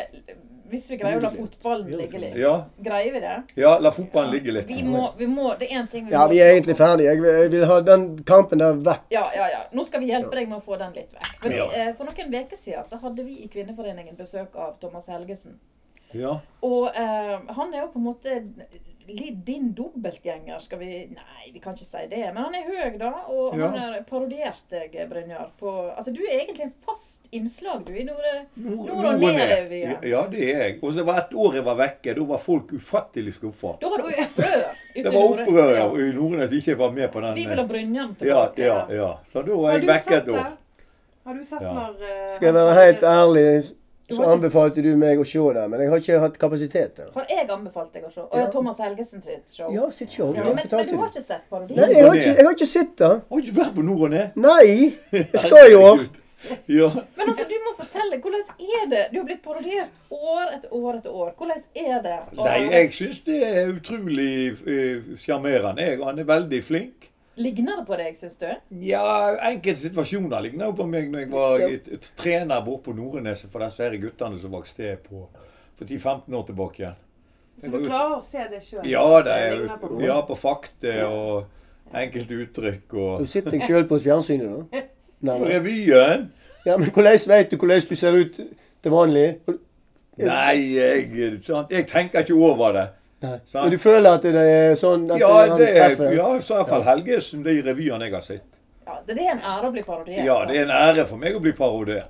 S1: hvis vi greier å la fotballen ligge litt.
S3: Ja,
S1: Greier vi det?
S3: ja, la fotballen ligge litt.
S1: Vi må, vi må, det er én ting vi
S5: Ja,
S1: må
S5: vi er
S1: snakke
S5: egentlig
S1: om.
S5: ferdige. Jeg vil, jeg vil ha den kampen der vekk.
S1: Ja, ja, ja. Nå skal vi hjelpe deg med å få den litt vekk. For,
S3: Ja.
S1: eh, for noen uker siden så hadde vi i Kvinneforeningen besøk av Thomas Helgesen.
S3: Ja.
S1: Og eh, han er jo på en måte litt din dobbeltgjenger, skal vi Nei, vi kan ikke si det. Men han er høy, da, og
S3: Ja.
S1: han har parodiert deg, Brynjar. På, altså, du er egentlig en fast innslag, du, i Nore. Nord- og Nederøya.
S3: Ja, det er jeg. Og så var et år jeg var vekke, da var folk ufattelig skuffa.
S1: Da var det opprør ute i
S3: Det var
S1: Nore.
S3: opprør
S1: Ja.
S3: i Nordnes som ikke var med på den.
S1: Vi vil ha Brynjar
S3: Ja,
S1: tilbake.
S3: ja, ja. Så da var
S2: Har
S3: jeg
S2: du
S3: vekke
S2: sett
S3: et
S2: det?
S3: år.
S2: Har du sett
S3: Ja.
S2: når eh,
S5: Skal jeg være helt ærlig,
S1: Du
S5: så
S1: har ikke-
S5: anbefalte du meg å se det, men jeg har ikke hatt kapasitet til det.
S1: Har jeg anbefalt deg å se? Og ja. Thomas Helgesen sitt show.
S5: Ja, sitt show.
S1: Ja,
S5: det
S1: men, men
S5: fortalte
S1: du har
S5: du.
S1: ikke sett parodien?
S5: Nei, jeg har ikke, jeg har ikke sett det.
S3: Har du ikke vært på Nord og Ned?
S5: Nei! Jeg skal i år.
S3: Ja.
S1: Men altså, du må fortelle. Hvordan er det? Du har blitt parodiert år etter år etter år. Hvordan er det? å
S3: Nei, jeg syns det er utrolig eh, sjarmerende. jeg. Han er veldig flink.
S1: Ligner det på deg, syns du?
S3: Ja, enkelte situasjoner ligner jo på meg når jeg var et, et trener borte på Noreneset for disse her guttene som vokste på for 10-15 år tilbake igjen.
S2: Så du klarer å se det sjøl?
S3: Ja, det er, ja, på fakta og enkelte uttrykk
S5: Du
S3: og
S5: sitter deg sjøl på fjernsynet, da.
S3: På
S5: Nærmest.
S3: revyen!
S5: Ja, men hvordan vet du hvordan du ser ut til vanlig?
S3: Nei, jeg, sant? jeg tenker ikke over det.
S5: Nei.
S3: Sant.
S5: Men du føler at det er sånn at
S3: Ja,
S5: han
S3: det er,
S5: treffer?
S3: ja i så fall Helgesen, de revyene jeg har sett.
S1: Ja, Det er en ære å bli parodiert.
S3: Ja,
S1: da.
S3: det er en ære for meg å bli parodiert.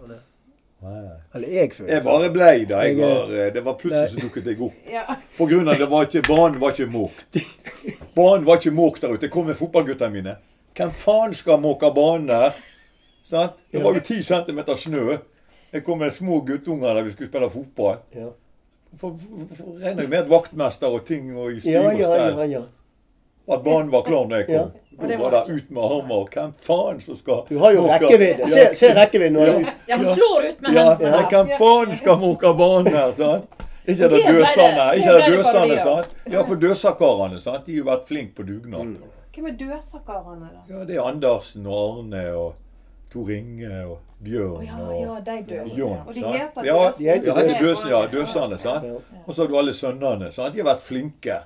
S5: Eller jeg føler
S3: Jeg bare blei da. Jeg var, eh, det var plutselig så dukket jeg opp.
S2: Ja.
S3: På grunn av det var ikke, banen var ikke måkt. Banen var ikke måkt der ute. Jeg kom med fotballguttene mine. Hvem faen skal måke banen her? Sant? Det var jo 10 cm snø. Jeg kom med små guttunger der vi skulle spille fotball.
S5: Ja.
S3: For, for, for regner jo med at vaktmester og ting og i styr
S5: Ja,
S3: og
S5: ja,
S3: stell.
S5: ja, ja.
S3: At banen var klar når jeg kom.
S1: Og
S3: Da
S1: det
S3: var
S1: var
S3: det ut med armer. og Hvem faen som skal
S5: Du har jo
S3: måke-
S5: rekkevidde. Se,
S3: Ja,
S5: se rekkevidden nå.
S1: Ja, Han slår ut med
S3: ja,
S1: hendene.
S3: ja, hvem faen skal måke banen her, sant? Ikke
S1: ble
S3: det
S1: det-
S3: døsene,
S1: det
S3: ikke
S1: ble
S3: det
S1: det
S3: døsene,
S1: parodier.
S3: sant? Ja, for døsakarene, sant? De har jo vært flinke på dugnad.
S5: Mm.
S2: Hvem er dødsakarene, da?
S3: Ja, det er Andersen og Arne og Tor Inge og Bjørn
S1: Ja, ja,
S3: og
S1: de døde.
S3: Jon,
S2: Og de
S3: sant?
S2: heter
S3: Ja,
S2: Døsen.
S3: de
S5: De
S3: heter
S5: heter
S3: Døsene, ja. Døsene, sant? Og så har du alle sønnene, sant? De har vært flinke.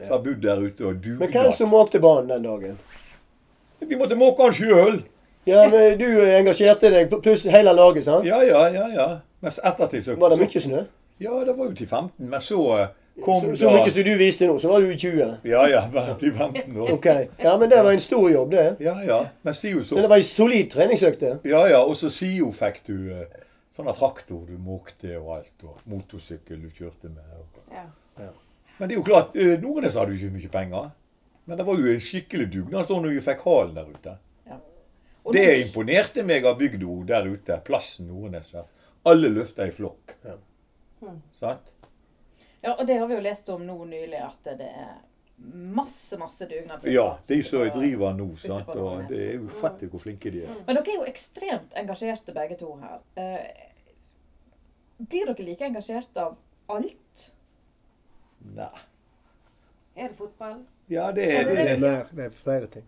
S3: Som har bodd der ute og
S5: Men hvem
S3: dugnad.
S5: som måkte banen den dagen?
S3: Vi måtte måke han sjøl!
S5: Ja, men Du eh, engasjerte deg, pluss hele laget, sant?
S3: Ja, ja, ja. ja. Mens ettertid så
S5: Var det mye snø?
S3: Ja, det var jo til 15, men så eh, kom
S5: Så,
S3: da
S5: så mye som du viste nå, så var du i 20.
S3: Ja, ja, men til 15 år.
S5: Ok. Ja, men det var en stor jobb, det.
S3: Ja, ja. Men Sio så
S5: Men det var en solid treningsøkt, det.
S3: Ja, ja, og så Sio fikk du eh, sånne traktor du måkte og alt, og motorsykkel du kjørte med. Og.
S2: Ja.
S3: Men det er jo klart, eh, Nordnes hadde jo ikke mye penger. Men det var jo en skikkelig dugnad sånn når vi fikk halen der ute.
S1: Og
S3: Det
S1: nå-
S3: imponerte meg av bygda der ute, plassen Nordnes. ja. Alle løfta i flokk. Sant?
S1: Ja, og det har vi jo lest om nå nylig, at det er masse, masse dugnadsinnsats.
S3: Ja, de som
S1: ute på-
S3: driver nå, sant.
S1: på
S3: Og
S1: Nordnes.
S3: det er ufattelig hvor flinke de er.
S1: Men dere er jo ekstremt engasjerte begge to her. Eh, Blir dere like engasjert av alt?
S3: Nei.
S2: Er det fotball?
S3: Ja, det er det. er-
S5: mer, det er flere ting.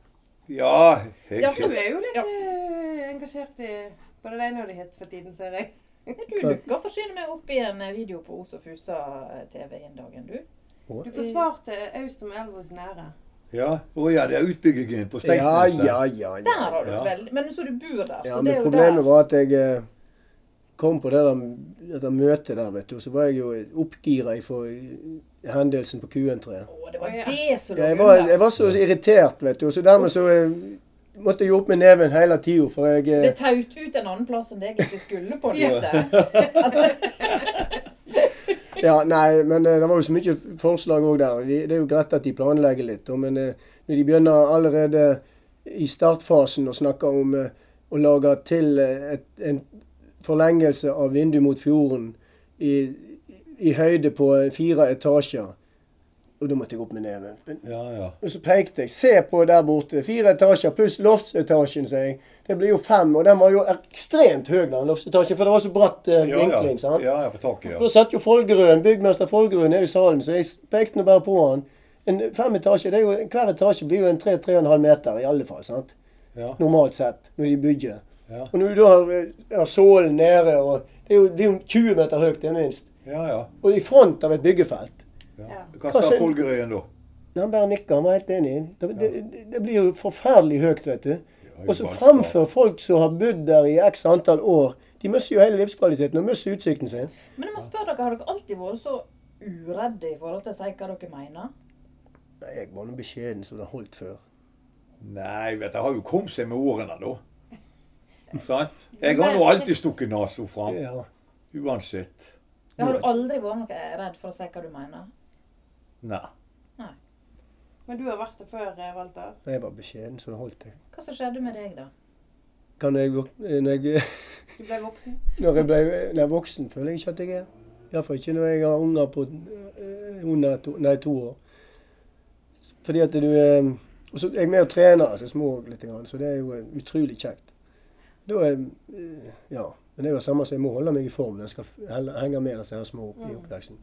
S3: Ja, jeg,
S1: Ja,
S2: Du er jo litt
S1: Ja.
S2: eh, engasjert i både det ene og det het for tiden, ser jeg.
S1: Du dukker forsyner meg opp i en eh, video på Os og Fusa eh, TV en dagen, du.
S2: Du forsvarte Aust om elvas nære.
S3: ja. Å ja, det er utbyggingen på
S5: Ja,
S3: Steinsneset.
S5: ja, ja.
S1: Der har du
S3: Ja.
S1: et veldig Men så du bor der,
S5: Ja,
S1: så det er
S5: men
S1: jo der.
S5: problemet var at jeg eh, kom på det der, det der møtet der, vet du. Så var jeg jo oppgira for hendelsen på Q-en-treet.
S1: Å, det var
S2: Å, ja.
S1: det som lå
S5: Jeg, var-
S1: under.
S5: jeg var så irritert, vet du. Så dermed så eh, måtte jeg opp med neven hele tida, for jeg eh,
S1: Det taut ut en annen plass enn det jeg egentlig skulle på. dette. altså,
S5: Ja, nei, men eh, det var jo så mye forslag òg der. Vi- Det er jo greit at de planlegger litt, og, men eh, når de begynner allerede i startfasen å snakke om eh, å lage til eh, et, en forlengelse av vindu mot fjorden i, i høyde på fire etasjer Og da måtte jeg opp med neven. Men-
S3: Ja, ja.
S5: Og så pekte jeg. Se på der borte. Fire etasjer pluss loftsetasjen, sier jeg. Det blir jo fem, og den var jo ekstremt høy, den loftsetasjen, for det var så bratt eh,
S3: Ja, ja.
S5: vinkling. sant?
S3: ja, ja, på taket,
S5: Da
S3: ja.
S5: satt jo Folgerøen, byggmester Folgerøen nede i salen, så jeg pekte nå bare på han. En fem etasje, det er jo, Hver etasje blir jo en 3-3,5 meter i alle fall, sant?
S3: Ja.
S5: normalt sett, når de bygger.
S3: Ja.
S5: Og når du da har, eh, har sålen nede, og det er, jo, det er jo 20 meter høyt, det er minst,
S3: ja, ja.
S5: og i front av et byggefelt
S3: ja.
S2: Ja.
S3: Hva
S5: Hva
S3: sa
S5: sier-
S3: Folgerøyen da?
S5: Nei, Han bare nikka, han var helt enig. Det, det, det- det blir jo forferdelig høyt, vet du.
S3: jo,
S5: Og så
S3: bare
S5: framfor folk som har bodd der i x antall år. De mister jo hele livskvaliteten og mister utsikten sin.
S1: men jeg må spørre dere, har dere alltid vært så uredde i forhold til å si hva dere mener?
S5: Nei, jeg var nå beskjeden som det holdt før.
S3: Nei, vet du, det har jo kommet seg med årene, da. Sant? Jeg har nå alltid stukket nesa fram.
S5: Ja.
S3: Uansett.
S1: Jeg har du aldri vært noe redd for å si hva du mener?
S3: Nei.
S2: Men du har vært det før, eh, Walter.
S5: Jeg var beskjeden som det holdt, jeg.
S1: Hva som skjedde med deg, da?
S5: kan jeg, vok- når jeg,
S2: Du ble voksen.
S5: når jeg ble når jeg er voksen, føler jeg ikke at jeg er. Iallfall ikke når jeg har unger på eh, under to, nei, to år. Fordi at du eh, Og så er jeg med og trener altså, små litt, grann, så det er jo eh, utrolig kjekt. Da er eh, Ja. Men det er jo det samme som jeg må holde meg i form når jeg skal f- helle- henge med disse her små
S1: Mm.
S5: opp i oppveksten.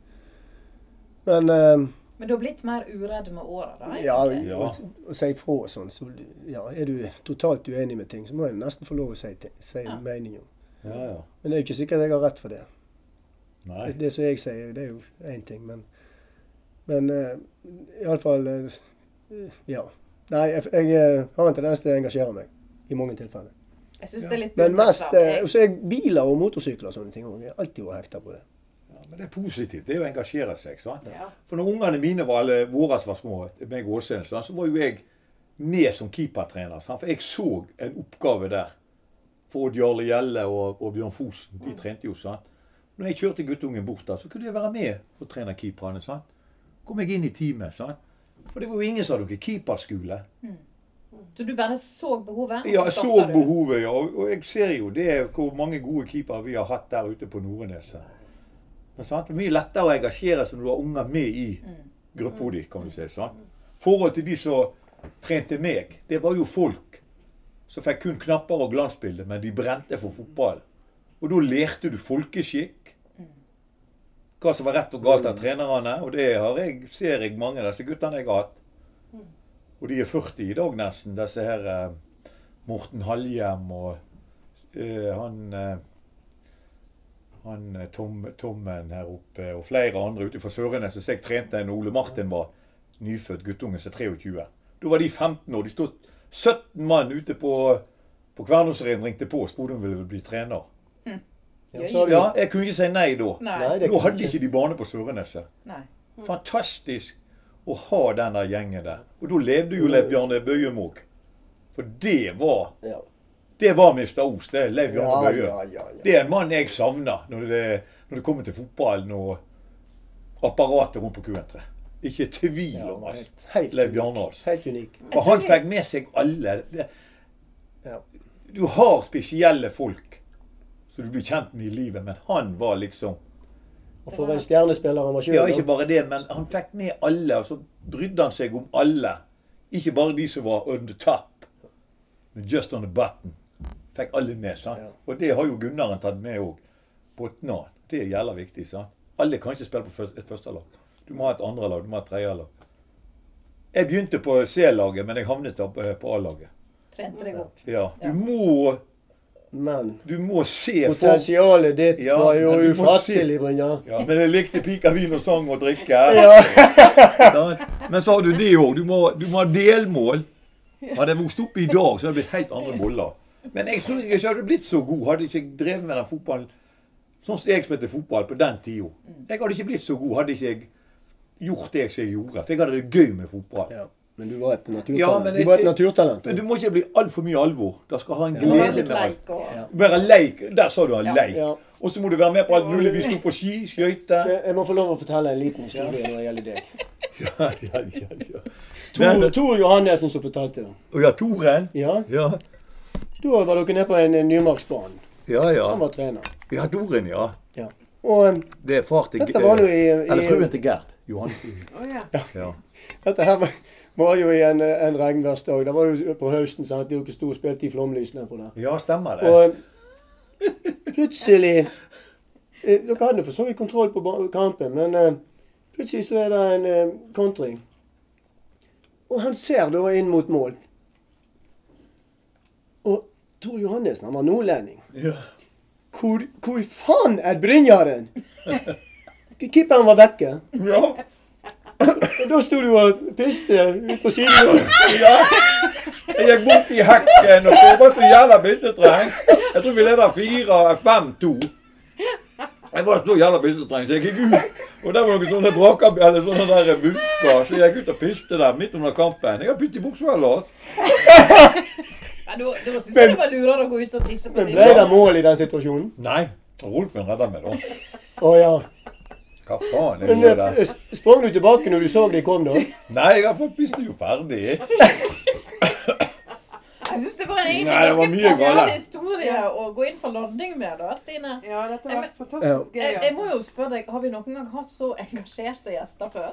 S5: Men eh,
S1: Men du har blitt mer uredd med åra, da?
S5: ja,
S1: egentlig.
S5: å å si ifra og sånn, så ja, er du totalt uenig med ting, så må en nesten få lov å si, ting- si
S1: Ja.
S5: mening om.
S3: Ja, ja.
S5: Men det er jo ikke sikkert jeg har rett for det.
S3: Nei.
S5: Det, det som jeg sier, det er jo én ting, men Men eh, iallfall eh, Ja. Nei, jeg, jeg eh, har en tendens til å engasjere meg i mange tilfeller.
S1: Jeg syns det er litt
S5: Men mest
S1: uinteressant,
S5: eh,
S1: jeg.
S5: Og så er biler og motorsykler og sånne ting òg. Jeg har alltid vært hekta på det.
S3: Ja, men det er positivt. Det er å engasjere seg. sant?
S2: Ja.
S3: For når ungene mine var, eller våre som var små, meg og Åshild, sant, så var jo jeg med som keepertrener. sant? For jeg så en oppgave der. For Odd Jarle Gjelle og, og Bjørn Fosen, de trente jo. sant? Når jeg kjørte guttungen bort der, så kunne jeg være med og trene keeperne. sant? Kom jeg inn i teamet. sant? For det var jo ingen som hadde noen keeperskole.
S5: eh,
S1: Så du bare så behovet? og
S3: Ja, jeg
S1: så
S3: så
S1: starta du?
S3: behovet, ja. Og og jeg ser jo det er hvor mange gode keepere vi har hatt der ute på Nordneset. Men sant? Det er mye lettere å engasjere seg når du har unger med i
S1: Mm.
S3: gruppa di, kan du si. sant? Forhold til de som trente meg. Det var jo folk som fikk kun knapper og glansbilder, men de brente for fotball. Og da lærte du folkeskikk.
S1: Mm.
S3: Hva som var rett og galt av trenerne. Og det har jeg, ser jeg mange av disse guttene jeg har hatt.
S1: Mm.
S3: Og de er 40 i dag nesten, disse her eh, Morten Halhjem og eh, han eh, han eh, Tom, Tommen her oppe og flere andre ute fra Sørenes som jeg trente når Ole Martin var nyfødt guttunge som 23. Da var de 15 år. De stod 17 mann ute på, på Kvernåsreien ringte på og spurte om de ville bli trener.
S5: Ja,
S1: Ja,
S5: så har du-
S3: Ja, jeg kunne ikke si nei da.
S1: Nei.
S5: Nei, det
S3: Nå
S5: kan
S3: hadde
S5: du ikke.
S3: ikke de bane på Søreneset.
S1: Nei.
S3: Fantastisk å ha den der gjengen der. Og da levde jo Leif Bjarne Bøyum òg. For det var
S5: Ja.
S3: det var Mr. Os, det er Leif Jarle
S5: Ja,
S3: Bøye.
S5: ja, ja, ja.
S3: Det er en mann jeg savner når det, når det kommer til fotballen og apparatet rundt på Q3. Ikke tvil om
S5: Ja,
S3: oss.
S5: helt-
S3: Leif Bjarne Aas.
S5: Helt unik.
S3: For han fikk med seg alle. Det-
S5: Ja.
S3: Du har spesielle folk som du blir kjent med i livet, men han var liksom
S5: Og for en stjernespiller han var
S3: Ja, ikke
S5: sjøl.
S3: bare det, men han fikk med alle, og så brydde han seg om alle. Ikke bare de som var on the top, men just on the button. Fikk alle med, sant?
S5: Ja.
S3: Og det har jo Gunnaren tatt med òg. Botnan. Det er jævla viktig, sant? Alle kan ikke spille på først- et førstelag. Du må ha et andrelag, du må ha et tredjelag. Jeg begynte på C-laget, men jeg havnet da på på A-laget.
S1: Trente deg opp.
S3: Ja.
S1: Ja.
S3: Du må,
S5: Men
S3: du må se for...
S5: potensialet ditt
S3: Ja,
S5: var jo
S3: men du må
S5: ufattelig, Brynjar.
S3: Ja, men jeg likte pika, vin og sang og drikke.
S5: Ja.
S3: Sant? Men så har du det òg. Du, må- du må ha delmål. Hadde jeg vokst opp i dag, så hadde det blitt helt andre boller. Men jeg tror jeg ikke hadde blitt så god hadde ikke jeg drevet med den fotballen sånn som jeg spilte fotball på den tida. Jeg hadde ikke blitt så god hadde ikke jeg gjort det jeg gjorde. For jeg hadde det gøy med fotball.
S5: Ja, Men du var et naturtalent.
S3: Ja, men
S5: du var et
S3: det-
S5: naturtalent.
S3: Men du må ikke bli altfor mye alvor. Det skal ha en
S1: Og
S3: glede
S1: litt
S3: med alt.
S1: leik og
S5: Ja.
S3: Være leik. Der sa du han leik.
S5: Ja.
S3: Og så må du være med på alt mulig. Vi sto på ski, skøyter
S5: Jeg jeg må få lov å fortelle en liten historie når det gjelder deg.
S3: ja, ja, ja, ja.
S5: Tor, Tor Johannessen som fortalte den.
S3: Og ja, Toren.
S5: Ja,
S3: Ja,
S5: Da var dere nede på en en Nymarksbanen.
S3: ja.
S5: Han
S3: Ja,
S5: var trener.
S3: ja Toren, ja.
S5: Ja. Og um,
S3: Det er far til
S5: dette var jo i,
S3: Eller fruen
S5: i
S3: til Gerd. Johan.
S2: Å ja.
S3: Ja.
S5: Dette her var, var jo i en, eh, en regnværsdag. Det var jo på høsten. sant? Dere sto og spilte i flomlysene på det.
S3: ja, stemmer det.
S5: Og eh, plutselig eh, Dere hadde for så vidt kontroll på ba- kampen, men eh, plutselig så er det en eh, kontring. Og han ser da inn mot mål. Og Tor Johannessen, han var nordlending.
S3: Ja.
S5: Hvor, hvor faen er Brynjaren? Keeperen var vekke.
S3: Ja.
S5: Og da sto du og piste ut på siden.
S3: ja. Jeg gikk bort i hekken og så var så jævla byssetreng. Jeg tror vi leda 4-5-2. Jeg var så jævla byssetreng, så jeg gikk ut. Og der var noen sånne braker, eller sånne der busker, så jeg gikk ut og piste der midt under kampen. Jeg har pytt i buksa ellers.
S1: Nei, Da, da syns jeg det var lurere å gå ut og tisse på
S5: Men ble det
S1: siden.
S5: mål i den situasjonen?
S3: Nei. Rolfen redda meg, da.
S5: Å ja.
S3: Hva faen er
S5: Men
S3: det der?
S5: eh, sp- sprang du tilbake når du så de kom, da?
S3: Nei, jeg har fått piste jo ferdig.
S1: Jeg syns det var en egentlig
S3: Nei, det var mye
S1: ganske passende
S3: gale.
S1: historie å gå inn for landing med, da, Stine.
S2: ja, dette
S1: Nei,
S2: har
S1: men-
S2: vært fantastisk gøy.
S1: Jeg, jeg må
S2: Altså.
S1: jo spørre deg, har vi noen gang hatt så engasjerte gjester før?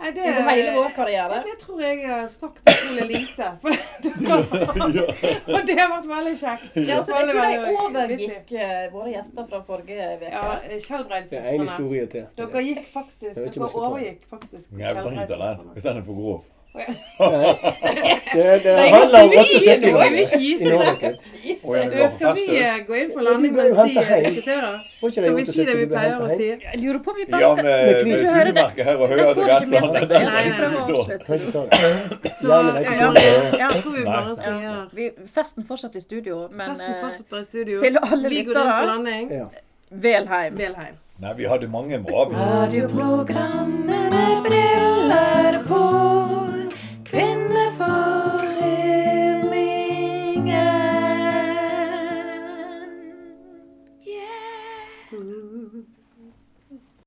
S2: Nei, det,
S1: Gjennom hele vår karriere.
S2: det tror jeg jeg har snakket utrolig lite. For og det har vært veldig kjekt.
S1: Ja, altså, jeg
S2: Veldig,
S1: tror de
S2: veldig
S1: overgikk eh, våre gjester fra forrige uke.
S2: Ja,
S5: Det er en
S2: Skjelbreid-søstrene.
S5: historie til.
S2: Dere gikk faktisk,
S5: vet
S2: dere
S5: ikke om jeg skal ta den.
S2: overgikk faktisk
S3: Nei, vi driter i den hvis den er for grov.
S5: Det, det
S1: er
S5: handler om
S2: ikke
S5: åtte
S2: vi, det var jo ikke vi
S5: setninger.
S2: som
S5: I Norge.
S3: Og en
S2: Du,
S3: var for
S2: skal vi
S3: festøs.
S2: eh, gå inn for
S5: Ja, de
S2: landing
S5: ble jo
S2: mens de
S5: hentet
S2: eh,
S5: hjem.
S2: diskuterer?
S5: Var ikke
S2: Skal vi si det vi
S5: åtte setninger ble
S2: pleier å
S5: hentet
S2: si?
S5: hjem?
S8: Jeg lurer på om vi bare
S3: Ja,
S8: eh, skal
S3: med, med
S5: kniv.
S3: sugemerke her og høyere
S8: Den får du ikke med seg. Nei, nei,
S2: Nei,
S8: prøv å
S3: til
S5: Kan
S8: avslutte.
S5: ikke ta det.
S2: Så
S5: Gjerne det,
S2: ja,
S5: ikke
S2: ja,
S5: dumt.
S2: jeg tror vi bare
S8: Ja.
S2: sier
S8: Vi, festen fortsetter i studio, men
S2: Festen
S8: eh,
S2: fortsetter i studio.
S8: til alle
S2: Vi går
S8: lyttere.
S2: inn for landing.
S5: Ja.
S8: vel heim.
S2: Velheim.
S3: Nei, vi hadde mange bra. Vi.
S1: Radioprogrammet med brev.